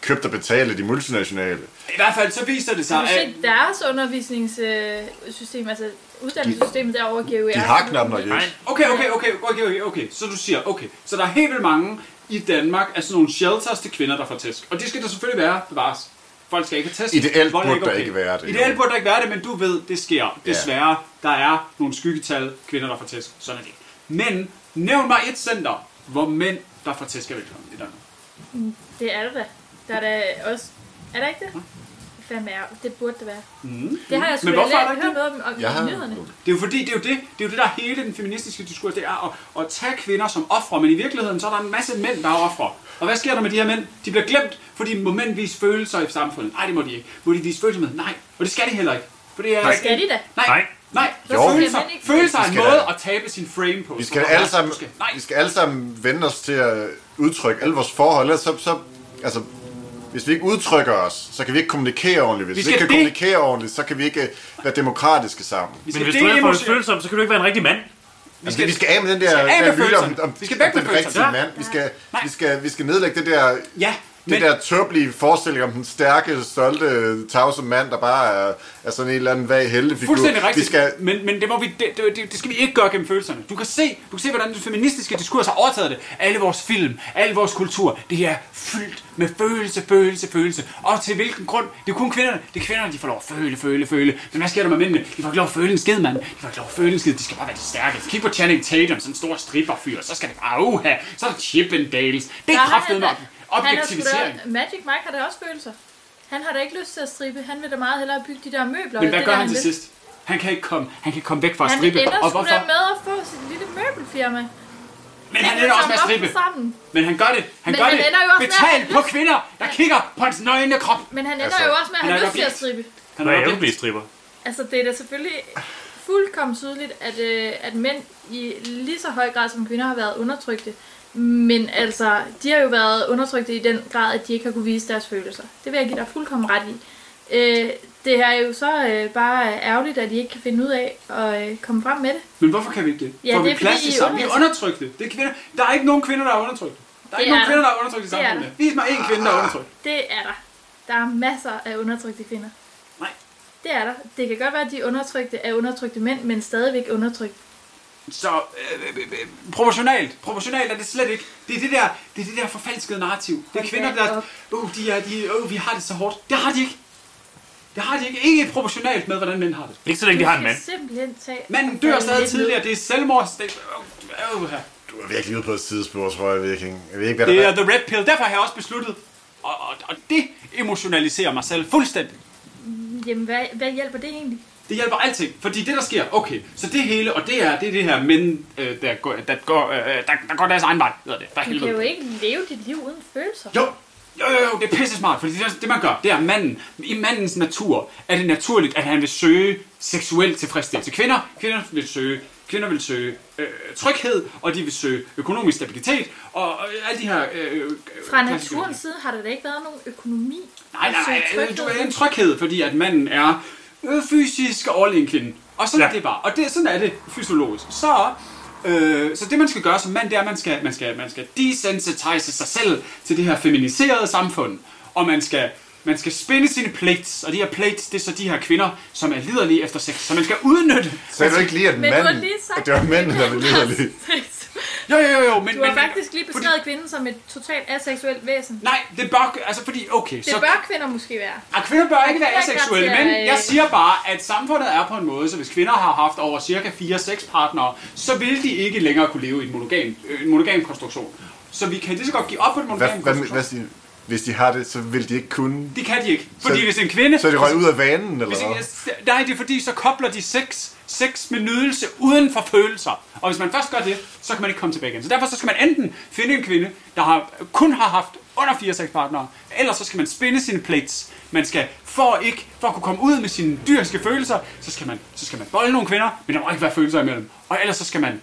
købt og betalt af de multinationale.
I hvert fald, så viser det sig,
Har du
at...
set deres undervisningssystem, altså uddannelsessystemet derovre giver jo
De har knap nok ikke.
Nej.
Okay, okay, okay, okay, okay, okay. Så du siger, okay, så der er helt vildt mange i Danmark af sådan nogle shelters til kvinder, der får tæsk. Og det skal der selvfølgelig være, bevares. Folk skal ikke have tæsk.
Ideelt
Vold er
burde der ikke være det.
Ideelt burde der ikke være det, men du ved, det sker. Desværre, der er nogle skyggetal kvinder, der får tæsk. Sådan er det. Men nævn mig et center, hvor mænd, der får tæsk, er velkommen i Danmark.
Det er det da. Der er da også... Er der ikke det? Hvad fanden er det? Det burde det være. Mm. Det har jeg sgu
Men
da
hvorfor er der
lært-
ikke det?
hørt noget om, om
Jeg
i
har...
nyhederne.
Det er jo fordi, det er jo det, det er jo det der er hele den feministiske diskurs, det er at, at tage kvinder som ofre, men i virkeligheden så er der en masse mænd, der er ofre. Og hvad sker der med de her mænd? De bliver glemt, fordi må mænd vise følelser i samfundet. Nej, det må de ikke. Må de vise følelser med? Nej. Og det skal de heller ikke. For det er
Det skal de da.
Nej. Nej.
Nej.
Nej.
Jo.
Jo. Følelser,
Skal mænd ikke-
følelser er
Vi
en
skal
måde
da-
at tabe sin frame på.
Vi skal,
Du
alle sammen,
du skal- Nej.
vi skal alle sammen vende os til at udtrykke alle vores forhold. Ellers så, så, altså, hvis vi ikke udtrykker os, så kan vi ikke kommunikere ordentligt. Hvis vi,
skal
ikke kan
det-
kommunikere ordentligt, så kan vi ikke øh, være demokratiske sammen.
Vi skal
Men hvis du
dele
ikke får
emotion-
det følsomt, så kan du ikke være en rigtig mand.
Vi skal, vi skal af med den der
af med
kalkyle om,
følelserne.
om,
Vi skal
om
væk med
den
følelserne.
rigtige
Ja.
mand. Vi skal,
Nej.
vi, skal, vi skal nedlægge det der,
Ja,
det
men-
der tørplige forestilling om den stærke, stolte, tavse mand, der bare er, er sådan en eller anden vag heltefigur.
Fuldstændig rigtigt.
Vi skal,
Men, men det, må vi, det, det, det, det, skal vi ikke gøre gennem følelserne. Du kan se, du kan se hvordan den feministiske diskurs har overtaget det. Alle vores film, alle vores kultur, det er fyldt med følelse, følelse, følelse. Og til hvilken grund? Det er kun kvinderne. Det er kvinderne, de får lov at føle, føle, føle. Men hvad sker der med mændene? De får ikke lov at føle en skid, mand. De får ikke lov at føle en skid. De skal bare være de stærke. Kig på Channing Tatum, sådan en stor stripperfyr. Så skal det bare, uha, så er der Chippendales. Det er kraftedeme op. Objektivisering.
Han er sgu da- Magic Mike har da også følelser. Han har da ikke lyst til at stribe. Han vil da meget hellere bygge de der møbler.
Men
og
hvad
det
gør
der,
han til
vil.
sidst? Han kan ikke komme, han kan ikke komme væk fra at
Han
stribe.
ender
Og
sgu da
hvorfor?
med at få sit lille møbelfirma.
Men han ender også med at
samler op
stribe.
sammen.
Men han gør det. Han
Men
gør
han
det.
ender jo også med at
Betalt
have
på
lyst-
kvinder, der kigger på hans nøgne krop.
Men han ender
Altså,
jo også med at
han
have
er
lyst til
nok
at stribe.
Han
Nå,
er
jeg vil
nok
blive stripper.
Altså, det er da selvfølgelig fuldkommen tydeligt, at, øh, at mænd i lige så høj grad som kvinder har været undertrykte. Men altså, de har jo været undertrykte i den grad, at de ikke har kunne vise deres følelser. Det vil jeg give dig fuldkommen ret i. Øh, det er jo så øh, bare ærgerligt, at de ikke kan finde ud af at øh, komme frem med det.
Men hvorfor kan vi ikke det?
Ja,
Får
det
vi
er
plads
fordi,
til
I er
sammen? Vi er
undertrykt.
undertrykte. Det er kvinder. Der er ikke nogen kvinder, der er undertrykte. Der er
Det
ikke nogen
er
kvinder,
der.
der er undertrykt i
Det er
samfundet. Vis mig én kvinde, der er undertrykt.
Det er der. Der er masser af undertrykte kvinder.
Nej.
Det er der. Det kan godt være, at de undertrykte er undertrykte mænd, men stadigvæk undertrykt.
Så øh, øh, øh, proportionalt, proportionalt er det slet ikke. Det er det der, det er det der forfalskede narrativ. Det er
Hold
kvinder,
da
der,
op.
uh, de er, de, uh, vi har det så hårdt. Det har de ikke. Det har de ikke. Ikke proportionalt med, hvordan mænd har det.
Ikke så længe de har en mand.
simpelthen tage...
Manden dør
Falde
stadig
lidt ned.
tidligere. Det er selvmord. Det, uh, uh,
du er virkelig ude på et sidespor, tror jeg, Viking. Jeg ved ikke, hvad
Det
der
er The Red Pill. Derfor har jeg også besluttet, og, og, og det emotionaliserer mig selv fuldstændig.
Jamen, hvad, hvad hjælper det egentlig?
Det hjælper alting, fordi det der sker, okay, så det hele, og det er det, er det her men øh, der, går, der, går, øh, der, der går deres egen vej, hedder det, for
Du kan jo
helvede.
ikke leve dit liv uden følelser.
Jo, jo, jo, jo, det er pisse smart, fordi det, er- det man gør, det er at manden, i mandens natur, er det naturligt, at han vil søge seksuel tilfredsstillelse. Kvinder, kvinder vil søge, kvinder vil søge øh, tryghed, og de vil søge økonomisk stabilitet, og, og alle de her... Øh, øh,
Fra
klassiske-
naturens side har der da ikke været nogen økonomi.
Nej,
at
nej,
søge
nej, øh,
tryghed
du er
i.
en tryghed, fordi at manden er øh, fysisk overlegen kvinde. Og sådan ja.
Ja.
er det bare. Og det, sådan er det fysiologisk. Så, øh, så det, man skal gøre som mand, det er, at man skal, man skal, man skal desensitize sig selv til det her feminiserede samfund. Og man skal, man skal spinde sine plates. Og de her plates, det er så de her kvinder, som er liderlige efter sex. Så man skal udnytte...
Sagde du ikke lige, at
Men du har
manden,
lige sagt,
at det var manden, der ville lide lige.
Jo, jo, jo, jo. Men,
Du har
men,
faktisk lige
fordi-
beskrevet kvinden som et totalt aseksuelt væsen.
Nej, det bør... Altså, fordi... Okay,
Det
så...
bør kvinder måske være.
Og kvinder bør ikke være
Jeg er klar til
aseksuelle,
at,
men
øh,
jeg siger bare, at samfundet er på en måde, så hvis kvinder har haft over cirka 4-6 partnere, så vil de ikke længere kunne leve i en monogam, øh, en monogam konstruktion. Så vi kan lige så godt give op på den
Hvad,
monogam
hvad,
konstruktion.
hvad siger, hvis de har det, så vil de ikke kunne.
Det kan de ikke. Fordi
Så-
hvis en kvinde...
Så er de røget ud af vanen, eller
Hvis
hvad?
en, nej, det er fordi, så kobler de sex, sex med nydelse uden for følelser. Og hvis man først gør det, så kan man ikke komme tilbage igen. Så derfor så skal man enten finde en kvinde, der har, kun har haft under fire sexpartnere, eller så skal man spinde sine plates. Man skal, for, ikke, for at kunne komme ud med sine dyriske følelser, så skal man, så skal man bolde nogle kvinder, men der må ikke være følelser imellem. Og ellers så skal man,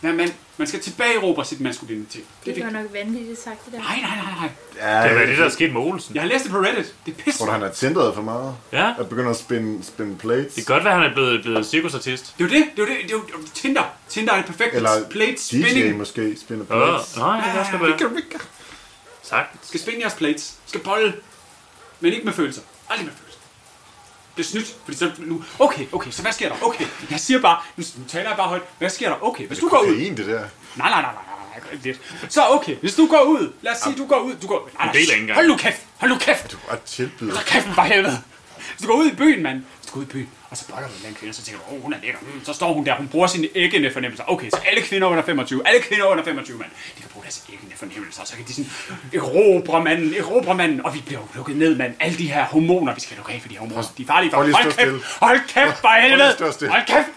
man, man, man skal tilbageråbe sit maskulinitet. Det er
Det er
vigtigt.
godt nok vanvittigt sagt, det der.
Nej, nej, nej, nej.
Ja,
Det var
jeg
det, der er sket med Olsen.
Jeg har læst det på Reddit. Det er pisse.
tror du, han er tændret for meget?
Ja.
Og begynder at spinde, spinde plates?
Det kan godt være, han er blevet, blevet cirkusartist.
Det er jo det, det er jo det, det er jo det er jo Tinder. Tinder er det perfekte
Eller
plate
DJ
spinning.
måske spinder
Ah.
Åh,
plates.
nej, det kan også godt være. Sagtens.
Skal spinde jeres plates. Skal bolle. Men ikke med følelser. Aldrig med følelser. Det er snydt, fordi så nu... Okay, okay, så hvad sker der? Okay, jeg siger bare... Nu, nu taler jeg bare højt. Hvad sker der? Okay, hvis du går ud...
Kokain, det der.
Nej, nej, nej, nej, nej, nej, lidt. Så okay, hvis du går ud... Lad os sige, du går ud... Du går... Nej,
Det deler ikke
nej,
engang.
hold nu kæft! Hold nu kæft!
Og tilbyder.
Så kæft for helvede. Hvis du går ud i byen, mand. Hvis du går ud i byen, og så boller du en eller anden kvinde, så tænker du, åh, hun er lækker. Mm, så står hun der, hun bruger sine æggende fornemmelser. Okay, så alle kvinder under 25, alle kvinder under 25, mand. De kan bruge deres æggende fornemmelser, og så kan de sådan erobre manden, erobre manden, og vi bliver jo lukket ned, mand. Alle de her hormoner, vi skal lukke af for de her hormoner, de er farlige for.
Prøv lige at
Hold
stå
kæft, hold kæft for
lige at stå
helvede.
stille.
Hold kæft.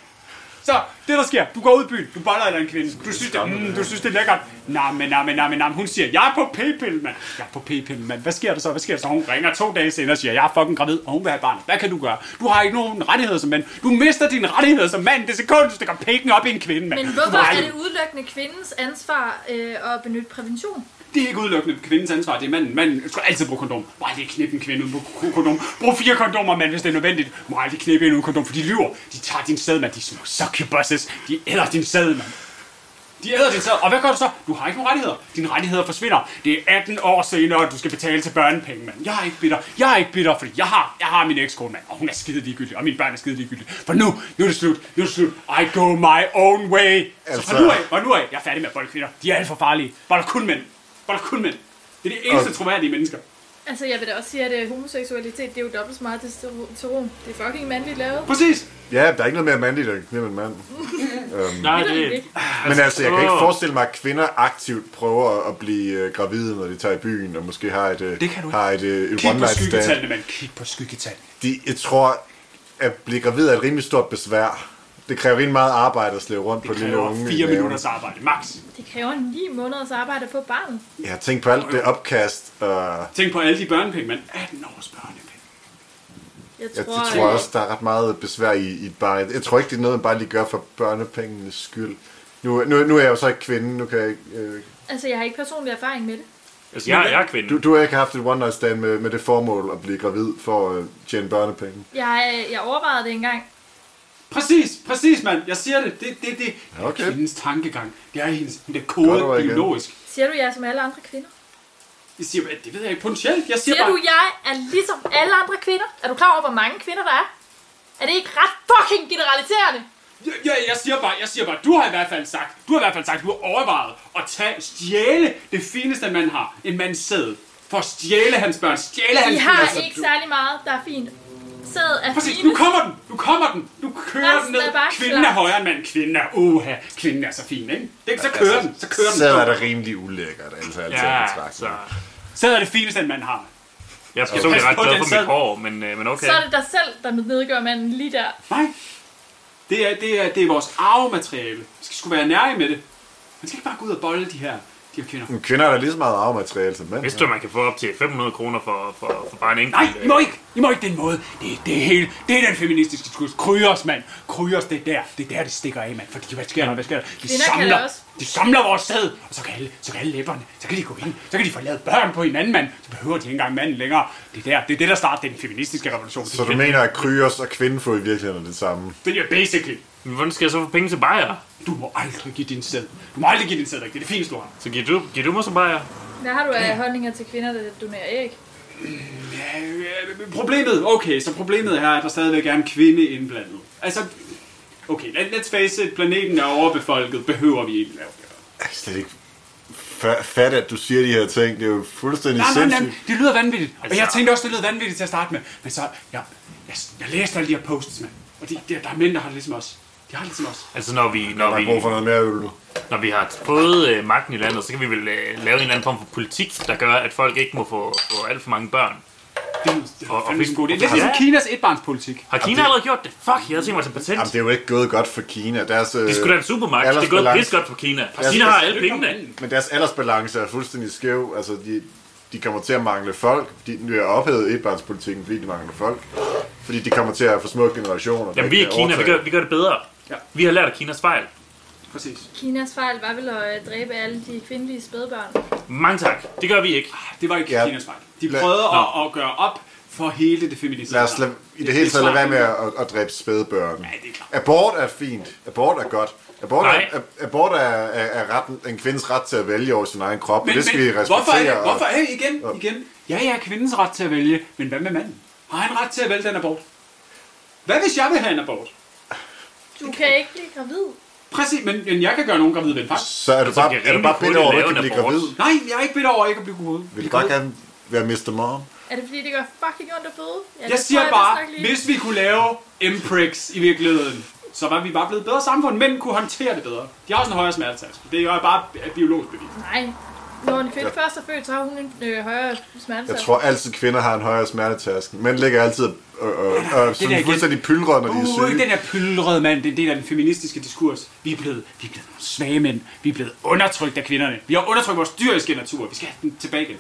Så det der sker, du går ud i byen, du boller en eller anden kvinde, du synes, det, mm, du synes, det er lækkert. Nej, men nej, men nej, men nej, men hun siger, jeg er på p-pille, mand. Jeg er på p-pille, mand. Hvad sker der så? Hvad sker der så? Hun ringer to dage senere og siger, jeg er fucking gravid, og hun vil have barn. Hvad kan du gøre? Du har ikke nogen rettigheder som mand. Du mister dine rettigheder som mand. Det sekund, du stikker pikken op i en kvinde, mand.
Men
Du
hvorfor
har
er
aldrig-
det udelukkende kvindens ansvar øh, at benytte prævention?
Det er ikke udelukkende kvindens ansvar, det er manden. Manden skal altid bruge kondom. Må aldrig knippe en kvinde uden brug kondom. Brug fire kondomer, mand, hvis det er nødvendigt. Må aldrig knippe en uden kondom, for de lyver. De tager din sæd, mand. De er små succubus. Marxist. De æder din sæd, mand. De æder din sæd. Og hvad gør du så? Du har ikke nogen rettigheder. Dine rettigheder forsvinder. Det er 18 år senere, at du skal betale til børnepenge, mand. Jeg er ikke bitter. Jeg er ikke bitter, fordi jeg har, jeg har min ekskone, mand. Og hun er skide ligegyldig, og mine børn er skide ligegyldige. For nu, nu er det slut. Nu er det slut. I go my own way. Altså...
Altså-
Så fra nu af, fra nu af, jeg er færdig med at bolde kvinder. De er alt for farlige. Bolder kun mænd. Bolder kun mænd. Det er de eneste
Og-
troværdige mennesker.
Altså, jeg vil da også sige, at øh, homoseksualitet, det er jo dobbelt så meget testosteron. Det er fucking mandligt lavet.
Præcis.
Ja, der er ikke noget mere mandligt end kvinder end mand.
Nej,
Det er
det...
ikke.
Men altså, jeg kan ikke
åh.
forestille mig, at kvinder aktivt prøver at blive øh, gravide, når de tager i byen, og måske har et, øh,
Det kan du ikke.
har et, øh, et
Kig
one
på
night stand.
skyggetallene, mand. Kig på skyggetallene.
De, jeg tror, at blive gravid er et rimelig stort besvær. Det kræver rimelig meget arbejde at slæve rundt på
Det
den lille
kræver
unge. i
fire
maven.
minutters arbejde, max.
Det kræver 9 måneders arbejde at få barnet.
Ja, tænk på alt det opkast. Og
Tænk på alle de børnepenge, mand. 18 års børnepenge.
Jeg
jeg,
tror,
jeg tror
øh,
også, der er ret meget besvær i, i et barn. Jeg tror ikke, det er noget, man bare lige gør for børnepengenes skyld. Nu, nu, nu er jeg jo så ikke kvinde. Nu kan jeg, ikke, øh,
altså, jeg har ikke personlig erfaring med det.
Altså, jeg, jeg er kvinde.
du, du har ikke haft et one night stand med, med det formål at blive gravid for at øh, tjene børnepenge.
Jeg, øh, jeg overvejede det engang.
Præcis, præcis, mand. Jeg siger det. Det, det, det.
Ja, okay.
det er hendes tankegang. Det er hendes det er
Godt
kode
over igen.
biologisk.
Siger du, jeg er som alle andre kvinder?
Jeg siger, at det ved jeg ikke potentielt. Jeg siger
Siger
bare,
du, jeg er ligesom alle andre kvinder? Er du klar over, hvor mange kvinder der er? Er det ikke ret fucking generaliserende?
jeg, jeg, jeg, siger bare, jeg siger bare, du har i hvert fald sagt, du har i hvert fald sagt, du har overvejet at tage, stjæle det fineste, man har. En mands sæd. For at stjæle hans børn. Stjæle
I
hans
har
børn.
ikke særlig meget, der er fint. Sæd er
Præcis,
fine.
nu kommer den, nu kommer den, nu kører
Resten
den ned.
er bare
Kvinden er
klar.
højere end mand, kvinden er, uha, kvinden er så fin, ikke? Det, så kører den, så kører den.
Så altså, er det rimelig ulækkert, altså.
Ja,
altså.
så...
Så er det fineste, en mand har.
Jeg er personligt
Pas
ret
på
glad
den
for
selv.
mit hår, men, øh, men okay.
Så er det dig selv, der nedgør manden lige der.
Nej. Det er, det er, det er vores arvemateriale. Vi skal sgu være nære med det. Man skal ikke bare gå ud og bolle de her, de her kvinder.
Kvinder er da lige så meget arvemateriale som mænd.
Vidste du, at man kan få op til 500 kroner for, for, for bare en enkelt?
Nej, I
øh,
må ikke! I må ikke den måde. Det, det er hele, det er den feministiske skus. Kryos, mand. Kryos, det er der. Det er der, det stikker af, mand. Fordi hvad sker der? Hvad sker der? De
Kvinder kan det
samler,
også.
de samler vores sæd, og så kan, alle, så kan alle læberne, så kan de gå ind, så kan de få lavet børn på hinanden, mand. Så behøver de ikke engang manden længere. Det er der, det er det, der starter den feministiske revolution.
Så du mener, at kryos og kvindefod i virkeligheden er det samme?
Det er basically.
Men hvordan skal jeg så få penge til bajer?
Du må aldrig give din sæd. Du må aldrig give din sæd, væk. det er det fineste, du har.
Så giver du, giver du mig så bajer?
Hvad har du af holdninger til kvinder, der donerer æg?
Øh, Problemet, okay, så problemet er, at der stadigvæk er en kvinde indblandet. Altså, okay, let, let's face it, planeten er overbefolket, behøver vi ikke lave
Jeg kan slet ikke fa- fatte, at du siger de her ting. Det er jo fuldstændig
Nej, nej, nej,
sindssygt.
det lyder vanvittigt. Og jeg
Altså-
tænkte også, det lyder vanvittigt til at starte med. Men så, jeg, jeg, jeg læste alle de her posts, mand. Og de, de, der er mænd, der har det ligesom os. De har det ligesom os.
Altså, når vi, når
Der
vi,
er brug for noget mere øl nu.
når vi har fået øh, magten i landet, så kan vi vel øh, lave en eller anden form for politik, der gør, at folk ikke må få, få alt for mange børn.
Det, lyder- det,
Og-
er
og
fandme
hvis-
sådan god idé. Det er ligesom
Ja.
Kinas etbarnspolitik.
Har Kina allerede gjort det? Fuck, jeg havde tænkt mig til patent.
Jamen, det er jo ikke gået godt for Kina. Deres, øh,
Det er sgu da en supermagt. Det er gået
aldersbalance-
pis godt for Kina. Kina har alle pengene.
Men deres aldersbalance er fuldstændig skæv. Altså, de, de kommer til at mangle folk. De nu er ophedet etbarnspolitikken, fordi de mangler folk. Fordi de kommer til at få små generationer. der
Jamen, vi
ikke
er
kan
Kina. Vi
overtage.
gør, vi gør det bedre.
Ja.
Vi har lært af Kinas fejl.
Præcis.
Kinas fejl var vel at øh, dræbe alle de kvindelige spædbørn.
Mange tak. Det gør vi ikke.
Ah, Det var ikke
Ja.
Kinas fejl. De
Lad-
prøvede at, at gøre op for hele det feministiske.
Lad os lade, i det hele taget lade være med at, at, at dræbe spædbørn.
det er klart.
Abort er fint. Abort er godt. Abort,
Nej.
er, ab- abort er, er, er retten, en kvindes ret til at vælge over sin egen krop, men,
Men,
det skal
men,
vi respektere.
Hvorfor, er det,
og-
hvorfor hey, igen, igen? Ja, ja, kvindens ret til at vælge, men hvad med manden? Har han ret til at vælge den abort? Hvad hvis jeg vil have en abort?
Du kan ikke blive gravid.
Præcis, men, men jeg kan gøre nogen gravid ved en fakt.
Så er du
Så
bare,
kan jeg
er du
rimelig
bare bitter
hurtigt
over, at du kan
lave en
blive
abort.
gravid.
Nej, jeg er ikke bitter over ikke at blive gravid.
Vil du godt gerne være Mr. Mom?
Er det fordi, det gør fucking ondt at føde? Ja,
Jeg
det
siger
tror vist
bare,
nok lige.
hvis vi kunne lave impricks i virkeligheden, så var vi bare blevet et bedre samfund. Mænd kunne håndtere det bedre. De har også en højere smertetærskel. Det er jo bare et biologisk bevis.
Nej. Når en kvinde først er født, så har hun en øh, højere smertesats.
Jeg tror altid, kvinder har en højere smertetærskel. Mænd ligger altid og, og, og
der
sådan
igen.
fuldstændig pylret, når de er
Uh, den
syge.
der pylrede mand, det er en del af den feministiske diskurs. Vi er blevet, vi er blevet nogle svage mænd. Vi er blevet undertrykt af kvinderne. Vi har undertrykt vores dyriske natur. Vi skal have den tilbage igen.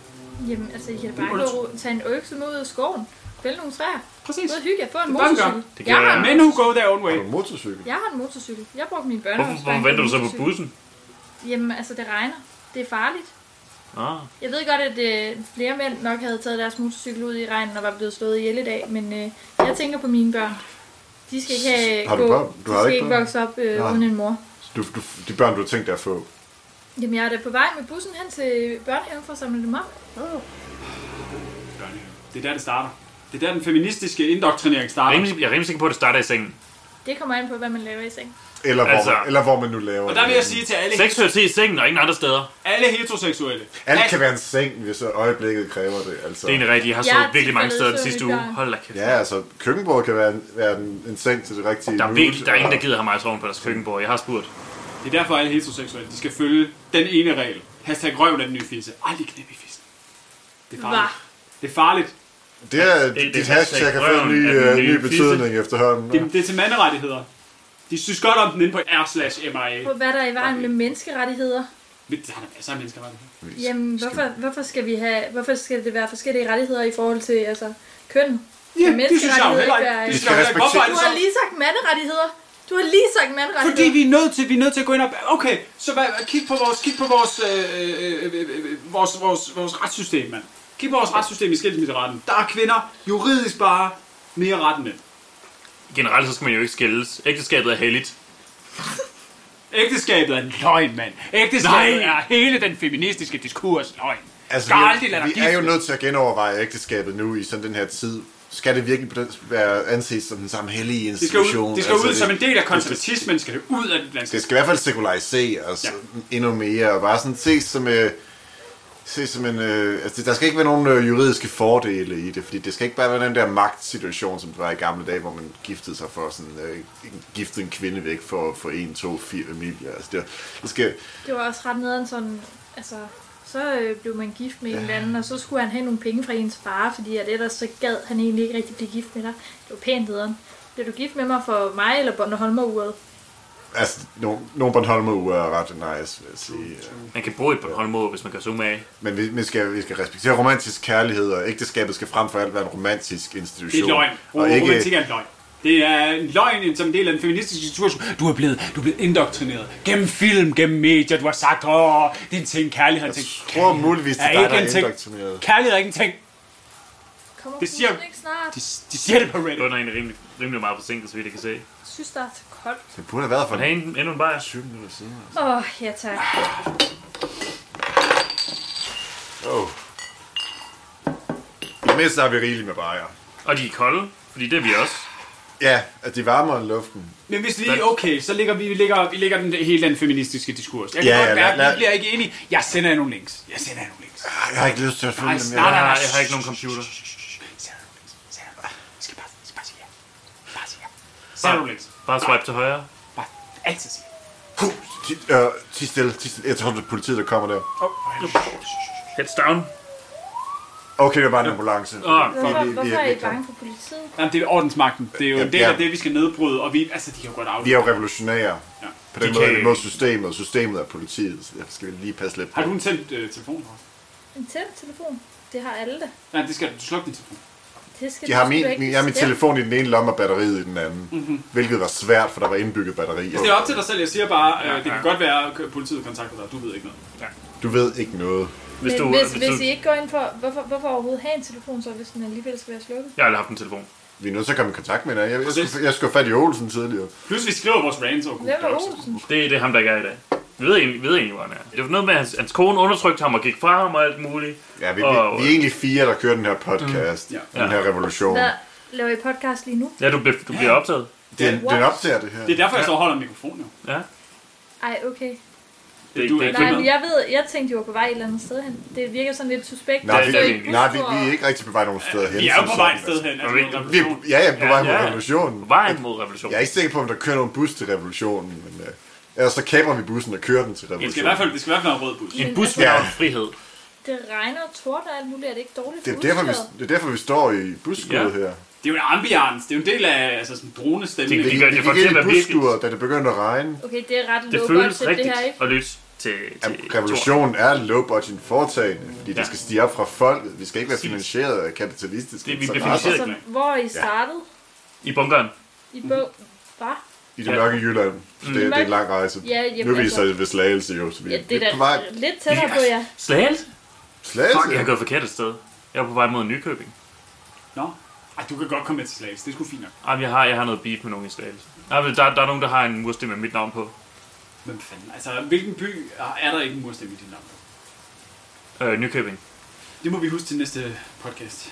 Jamen, altså, I kan da bare gå og tage en økse med ud af skoven. Fælde nogle træer.
Præcis.
Både hygge, få en
Det er bare en
motorcykel.
gang.
Det
Jeg
kan
har,
jeg.
Men who go their own way.
På en motorcykel.
jeg har en motorcykel. Jeg brugte min
Hvorfor,
børnehåndsbank.
hvorfor venter du så på bussen?
Jamen, altså, det regner. Det er farligt.
Ah.
Jeg ved godt, at øh, flere mænd nok havde taget deres motorcykel ud i regnen og var blevet slået ihjel i dag, men øh, jeg tænker på mine børn. De skal ikke have
Har du
gå,
børn? Du
de
har
skal
ikke
ikke
børn?
vokse op øh,
Nej.
uden en mor.
Du, du, de børn, du har tænkt dig at få.
Jamen, jeg er da på vej med bussen hen til børnehaven for at samle dem op.
Det er der, det starter. Det er der, den feministiske indoktrinering
Jeg er
starter.
rimelig, jeg er rimelig sikker på, at det starter i sengen.
Det kommer an på, hvad man laver i seng.
Eller hvor,
Altså.
altså, eller hvor man nu laver
Og der vil
det.
jeg sige til alle,
Seksualitet i sengen og ingen andre steder.
alle heteroseksuelle.
Alt kan være en seng, hvis øjeblikket kræver det. Altså.
Det er egentlig rigtigt. Jeg har
Jeg
sovet
er
virkelig mange
tilfældet
steder den
søvn i
sidste uge.
baren.
Hold da kæft.
Ja, altså, køkkenbordet kan være en, være en, en seng til det rigtige
Der er,
mood,
virkelig, der er ingen,
og-
der gider have mig soven på deres køkkenbord. Jeg har spurgt.
Det er derfor, alle heteroseksuelle de skal følge den ene regel. Hashtag røven af den nye fisse. Aldrig knæppe i fissen. Det er farligt. Det er farligt.
Det er,
det er
det, dit
hashtag
hashtag har fået en ny,
røven af
øh,
den
ny
nye
betydning efterhånden.
Det, det er til manderettigheder. De synes godt om den inde på r slash MIA.
På, hvad der er i vejen med menneskerettigheder.
Men Der er der masser af menneskerettigheder.
Jamen, hvorfor, hvorfor, skal vi have, hvorfor skal det være forskellige rettigheder i forhold til altså, køn? Ja,
det synes jeg jo heller ikke. Det
Vi
synes
skal
jeg jo heller ikke. Hvorfor er
Du
det
har
så?
lige sagt manderettigheder. Du har lige sagt
Fordi
manderettigheder.
vi er nødt til, vi er nødt til at gå ind og... Okay, så hvad, kig på vores, kig på vores, øh, øh, øh, øh, vores, vores, vores retssystem, mand. Kig på vores retssystem i skilsmisseretten. Der er kvinder juridisk bare mere rettende.
Generelt så skal man jo ikke skilles. Ægteskabet er heldigt.
Ægteskabet er en løgn, mand. Ægteskabet
Nej.
er hele den feministiske diskurs løgn.
Altså,
Skal aldrig
vi,
lade
er,
dig
vi er jo
gifte.
nødt til at genoverveje ægteskabet nu i sådan den her tid. Skal det virkelig på den, være anses som den samme hellige
Det skal,
institution? Altså,
ud, det skal ud som en del af
det-
konservatismen, skal det ud af det danske.
Det skal i hvert fald sekulariseres
Ja.
ja. endnu mere, og bare sådan ses som, øh, ses som en... Øh, altså, der skal ikke være nogen øh, juridiske fordele i det, fordi det skal ikke bare være den der magtsituation, som det var i gamle dage, hvor man giftede sig for sådan... Øh, giftede en kvinde væk for, for en, to, fire familier. Altså, det, det skal...
Det var også ret nederen sådan, altså, så øh, blev man gift med en eller anden, og så skulle han have nogle penge fra ens far, fordi at ellers så gad han egentlig ikke rigtig blive gift med dig. Det var pænt nederen. Bliver du gift med mig for mig eller Bornholmeruret?
Altså, nogle, nogle Bornholmer er ret nice, vil jeg sige.
Man kan bruge et Bornholm hvis man gør zoom af.
Men vi, vi, skal, vi skal respektere romantisk kærlighed, og ægteskabet skal frem for alt være en romantisk
Det
institution.
er løgn.
Og
Romantik
ikke,
er en løgn. Det er en løgn som en del af den feministiske situation. Du er blevet, du er blevet indoktrineret gennem film, gennem medier. Du har sagt, åh, det er en ting, kærlighed er en
jeg
ting.
tror muligvis, det
Er
er dig,
ikke
der
en
er
ting.
indoktrineret.
Kærlighed er ikke en ting.
Kommer
Det
det
siger-
siger... ikke snart?
De, de siger det på Reddit.
Under en rimelig, rimelig meget forsinket, så vidt jeg kan se.
Jeg synes, der er så koldt.
Det burde have været for
Hey, endnu en bajer.
20 minutter siden.
Åh, oh, ja tak.
Oh. Det mindste har vi rigeligt med bajer.
Og de er kolde, fordi det er vi også.
Ja, at de varmer end luften.
Men hvis vi er okay, så ligger vi, vi ligger, vi ligger den, hele den feministiske diskurs. Jeg kan
Ja,
godt
ja,
mærke,
lad-
at
lad-
vi bliver ikke enige. Jeg sender jer nogle links. Jeg sender jer nogle links. Jeg
Ah, Jeg har ikke lyst til at følge
Nej,
dem.
nej,
Jeg
Jeg,
har, jeg har ikke nogen computer.
sender jer nogle links. Jeg sender jer nogle links. Jeg skal bare, jeg skal bare sige ja. Bare sige ja. Jeg Sender
Bare,
nogle links.
bare swipe til højre.
Bare altid sige ja.
Puh, ti, øh, ti stille, ti stille. Jeg tror, det er politiet, der kommer der.
Åh,
Heads down.
Okay, det var bare en ambulance.
Åh,
Hvorfor,
vi- vi-
hvorfor
vi-
er I
vi-
bange for politiet?
Jamen, det er ordensmagten. Det er jo en
Ja,
del
ja.
af det, vi skal nedbryde, og vi, altså, de kan jo godt af.
Vi er jo revolutionære.
Ja.
På den
De
måde
kan-
er det mod systemet, og systemet er politiet. Så derfor skal vi lige passe lidt på.
Har du en tændt øh, telefon? Lars?
En tændt telefon? Det har alle da.
Nej, det skal du. Du slukker din telefon.
Det skal
De
du
har
sgu
min,
ikke
min, jeg har min
bestemme.
telefon i den ene lomme og batteriet i den anden. Mm-hmm. Hvilket var svært, for der var indbygget batteri.
Det er op til dig selv. Jeg siger bare, øh,
Ja,
det kan
ja.
godt være, at politiet kontakter dig. Du ved ikke noget.
Du ved ikke noget.
Hvis du...
Men hvis,
du,
hvis I ikke går ind for, hvorfor, hvorfor overhovedet have en telefon, så hvis den alligevel skal være slukket?
jeg har aldrig haft en telefon.
Vi er nødt til at komme i kontakt med hinanden. Jeg, jeg,
Præcis.
skulle, jeg skulle have fat i Olsen tidligere.
Plus, vi skriver vores rants over
Hvem er
Google Docs.
Olsen?
Det, det er ham, der ikke er i dag. Vi ved egentlig, vi ved egentlig hvor han er. Det var noget med, at hans, hans kone undertrykte ham og gik fra ham og alt muligt.
Ja, vi,
og,
vi, vi er egentlig fire, der kører den her podcast.
Mm.
Mm.
Ja.
Den her revolution.
Hvad laver I podcast lige nu?
Ja, du, blev, du bliver optaget.
Den,
What?
den optager det her.
Det er derfor, jeg så holder mikrofonen. jo.
Ja.
Ej, okay.
Det,
Du
det,
er
det,
ikke-
Nej,
med.
men jeg ved, jeg tænkte, I var på vej et eller andet sted hen. Det virker sådan lidt suspekt.
Nej,
Ja,
vi,
det er
Så I
vi-
bus
nej vi, vi er
og-
ikke rigtig på vej nogen steder hen.
Vi er jo
som
på
sådan,
vej et sted hen. Altså,
Og vi-
en
Vi er,
revolution.
ja, ja, på vej mod
Ja, ja.
revolutionen.
vejen mod revolutionen.
Jeg er ikke sikker på, om der kører nogen bus til revolutionen, men øh, ellers så kaprer vi bussen og kører den til
Det skal i hvert
revolutionen.
fald, det skal i hvert fald være en rød bus.
En
Men
bus
altså-
med
Ja.
navn frihed.
Det regner og torden og alt muligt. Er det ikke dårligt
Det
for
er, derfor, vi,
udstyret?
det er derfor, vi står i busskuddet
Ja.
her.
Det er jo en ambiance. Det er jo en del af altså, sådan dronestemning.
Det-
Vi,
det-
vi,
gør-
vi
får
gik
til
ind
at
i
være
busskuret, da det begyndte at regne.
Okay, det er ret
Det
low
føles
budget, det
rigtigt
her, ikke?
at lytte til, til, til
Revolutionen er low budget foretagende, fordi
Ja.
det skal stige op fra folket. Vi skal ikke være finansieret af kapitalistiske
Det- vi bliver
interesser
finansieret-
Altså, hvor er I startede
i bunkeren.
i bog... Hvad?
i det mørke Jylland. Så det, det er en lang rejse.
Ja, jamen,
nu er vi
altså-
så ved Slagelse jo, så vi
Ja,
er
det er
lidt
da
på vej.
lidt tættere på jer.
Slagelse?
Slagelse?
Fuck, jeg har gået forkert et sted. Jeg var på vej mod Nykøbing.
Nå. Ej, Ej, du kan godt komme med til slags. Det er sgu fint nok.
Jamen, jeg har, jeg har noget beef med nogen i Slagelse. Der, der, der er nogen, der har en mursten med mit navn på.
Hvem fanden? Altså, hvilken by er er der ikke en murstemme i dit navn?
Øh, Nykøbing.
Det må vi huske til næste podcast.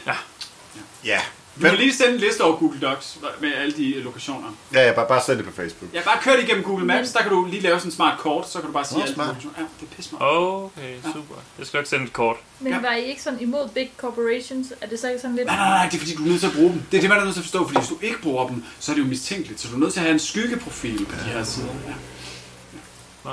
Ja.
Du må
Men,
lige sende en liste over Google Docs med alle de øh, lokationer.
ja, ja, bare, bare send det på Facebook.
Jeg har bare kørt igennem Google Maps, der kan du lige lave sådan en smart kort, så kan du bare sige
Nå,
alle de
smart.
lokationer. Ja, det er pisse meget.
Okay, super. Jeg skal nok sende et kort.
Men
Ja.
var I ikke sådan imod big corporations? Er det så ikke sådan lidt...
Nej, nej, nej, det er fordi, du er nødt til at bruge dem. Det er det, man er nødt til at forstå, fordi hvis du ikke bruger dem, så er det jo mistænkeligt. Så du er nødt til at have en skyggeprofil på de her sider. Ja.
Ja,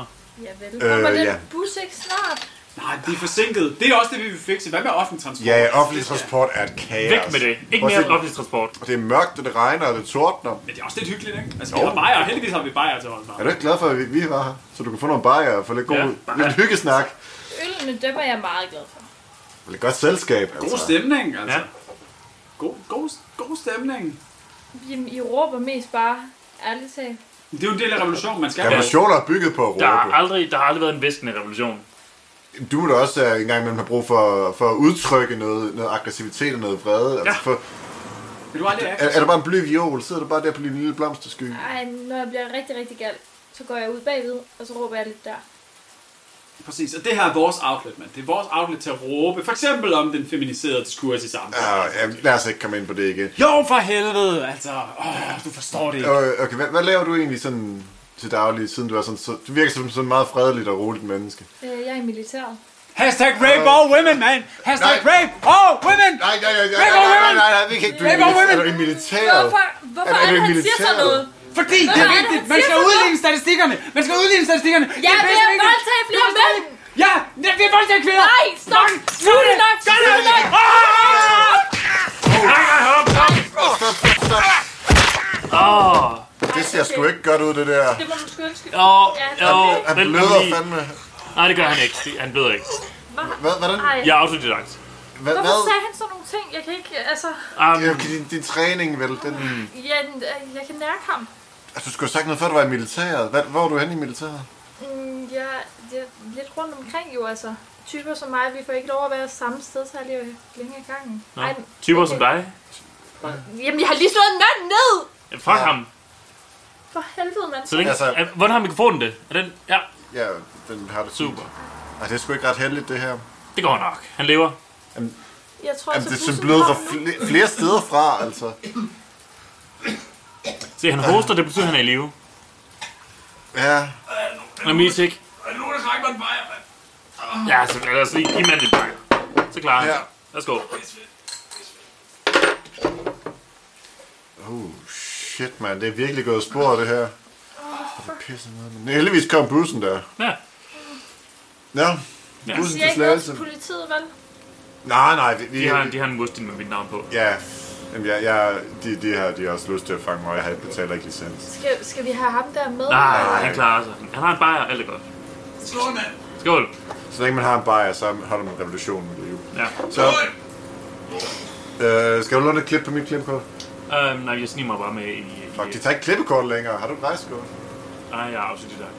vel. Kommer
Øh,
den
ja.
bus ikke snart?
Nej, de er forsinket. Det er også det, vi vil fikse. Hvad med offentlig transport?
Ja, ja, offentlig
Det skal-
transport er et kaos.
Væk med det. Ikke
Prøv at
mere
se,
offentlig transport.
Det er mørkt, og det regner, og det tordner.
Men det er også lidt hyggeligt, ikke? Altså, vi har bajer. Heldigvis har vi bajer til os.
Er du ikke glad for, at vi, vi var her? Så du kan få nogle bajer og få lidt, god,
Ja,
lidt hyggesnak.
Ølene, dem er jeg meget glad for.
Og lidt godt selskab,
God
altså.
stemning, altså.
Ja.
God, god, god stemning.
Jamen, I råber mest bare, ærligt talt.
Det er jo en del af revolutionen, man skal have.
Revolutioner er bygget på at
Der har
råbe.
aldrig, der har aldrig været en vestende revolution.
Du må da også øh, en gang imellem have brug for, for at udtrykke noget, noget aggressivitet og noget vrede. Altså,
Ja.
for,
Vil du aldrig
er,
have?
er, der bare en bly viol, sidder du bare der på din lille blomstersky.
Ej, når jeg bliver rigtig, rigtig gal, så går jeg ud bagved, og så råber jeg lidt der.
Præcis, og det her er vores outlet, mand. Det er vores outlet til at råbe, for eksempel om den feminiserede diskurs i samfundet.
Ah, ja, lad os ikke komme ind på det igen.
Jo, for helvede, altså. Åh, du forstår det ikke.
Øh, Okay, hvad, hvad laver du egentlig sådan til daglig, siden du er sådan, så, du virker som sådan en meget fredeligt og roligt menneske?
Øh, jeg er i militæret.
Hashtag rape all women, man. Hashtag
Nej.
rape all women.
Nej, nej, nej, nej,
Væk
nej, nej,
med
nej,
women!
nej, nej, vi kan ikke, du er,
Væk med
militær, er du
women!
i militæret.
Hvorfor, hvorfor
Er- er
er,
du
det,
i
han siger sådan
militæret?
noget?
Fordi
Hvad
det er
er det,
vigtigt.
han
Man
siger
skal
for noget?
udligne statistikkerne. Man skal udligne statistikkerne. Det
Jeg
er
vil
pisse vigtigt.
voldtage flere mænd!
Ja, det er voldtage kvinder.
Nej, stop! Nu er det nok!
Gør
Nu er det nok!
Åh,
Det ser sgu ikke godt ud, det der.
Det må du sgu undskylde.
åh,
Ja,
åh.
han-
Han
vent nu
bløder
lige.
fandme.
Nej, det gør han ikke. Det- Han bløder ikke.
Hvad, hvordan,
Ej,
Jeg er autodidakt.
hvad,
hvorfor
hvad?
sagde han sådan nogle ting? Jeg kan ikke, altså...
Um,
Ja, okay, din, din træning, vel, den...
Jeg, jeg kan mærke ham.
Altså, du skulle have sagt noget, før du var i militæret. Hvad, hvor var du henne i militæret?
Mm, jeg, jeg er lidt rundt omkring jo, altså. Typer som mig, vi får ikke lov at være samme sted, så lige længe ad gangen.
nå,
Ej,
typer som dig.
Jamen, jeg har lige slået en mand ned!
Fuck ham.
For helvede, mand.
Så den,
Altså-
er, hvordan har mikrofonen det? Er den, ja,
Ja, den har du fint.
super.
Ej, det er sgu ikke ret heldigt, det her.
Det går nok. Han lever.
Jeg tror,
Jamen, det er
bussen
sådan blevet fra
kom nu.
fle- flere steder fra, altså.
Se, han hoster, det betyder, at han er i live.
Ja,
Han er mest ikke.
Er det nogen, der trækker mig en bajer, mand?
Ja, så lad os lige give manden et bajer. Så klarer han.
ja.
Ja. Værsgo.
Oh, shit, man. Det er virkelig gået spor, det her. Oh, pisse noget. Men heldigvis kom bussen der.
Ja.
Ja, bussen
Ja.
Det
til
er ikke noget
Slagelse.
til politiet, vel?
Nej, nej, vi... vi
De har, en- de har en mursten med mit navn på.
Ja, Jamen, jeg, jeg, de, de har de har også lyst til at fange mig, og jeg har ikke betalt ikke licens.
Skal, skal vi have ham der med?
Nej, han klarer sig. Han har en bajer, alt er godt.
Slå en mand.
Skål.
Så længe man har en bajer, så holder man revolutionen i live.
Ja.
Så, øh, skal du låne et klip på mit klipkort?
Øhm, nej, jeg sniger mig bare med i... i
Fuck, de tager ikke klippekort længere. Har du et rejsekort?
nej, jeg er autodidakt.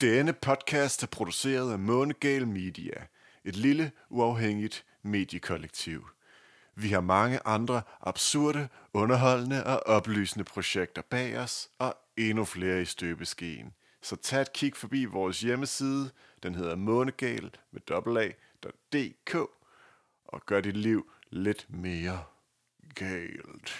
Denne podcast er produceret af Månegal Media, et lille, uafhængigt mediekollektiv. Vi har mange andre absurde, underholdende og oplysende projekter bag os, og endnu flere i støbeskeen. Så tag et kig forbi vores hjemmeside, den hedder månegal med dobbelt og gør dit liv lidt mere galt.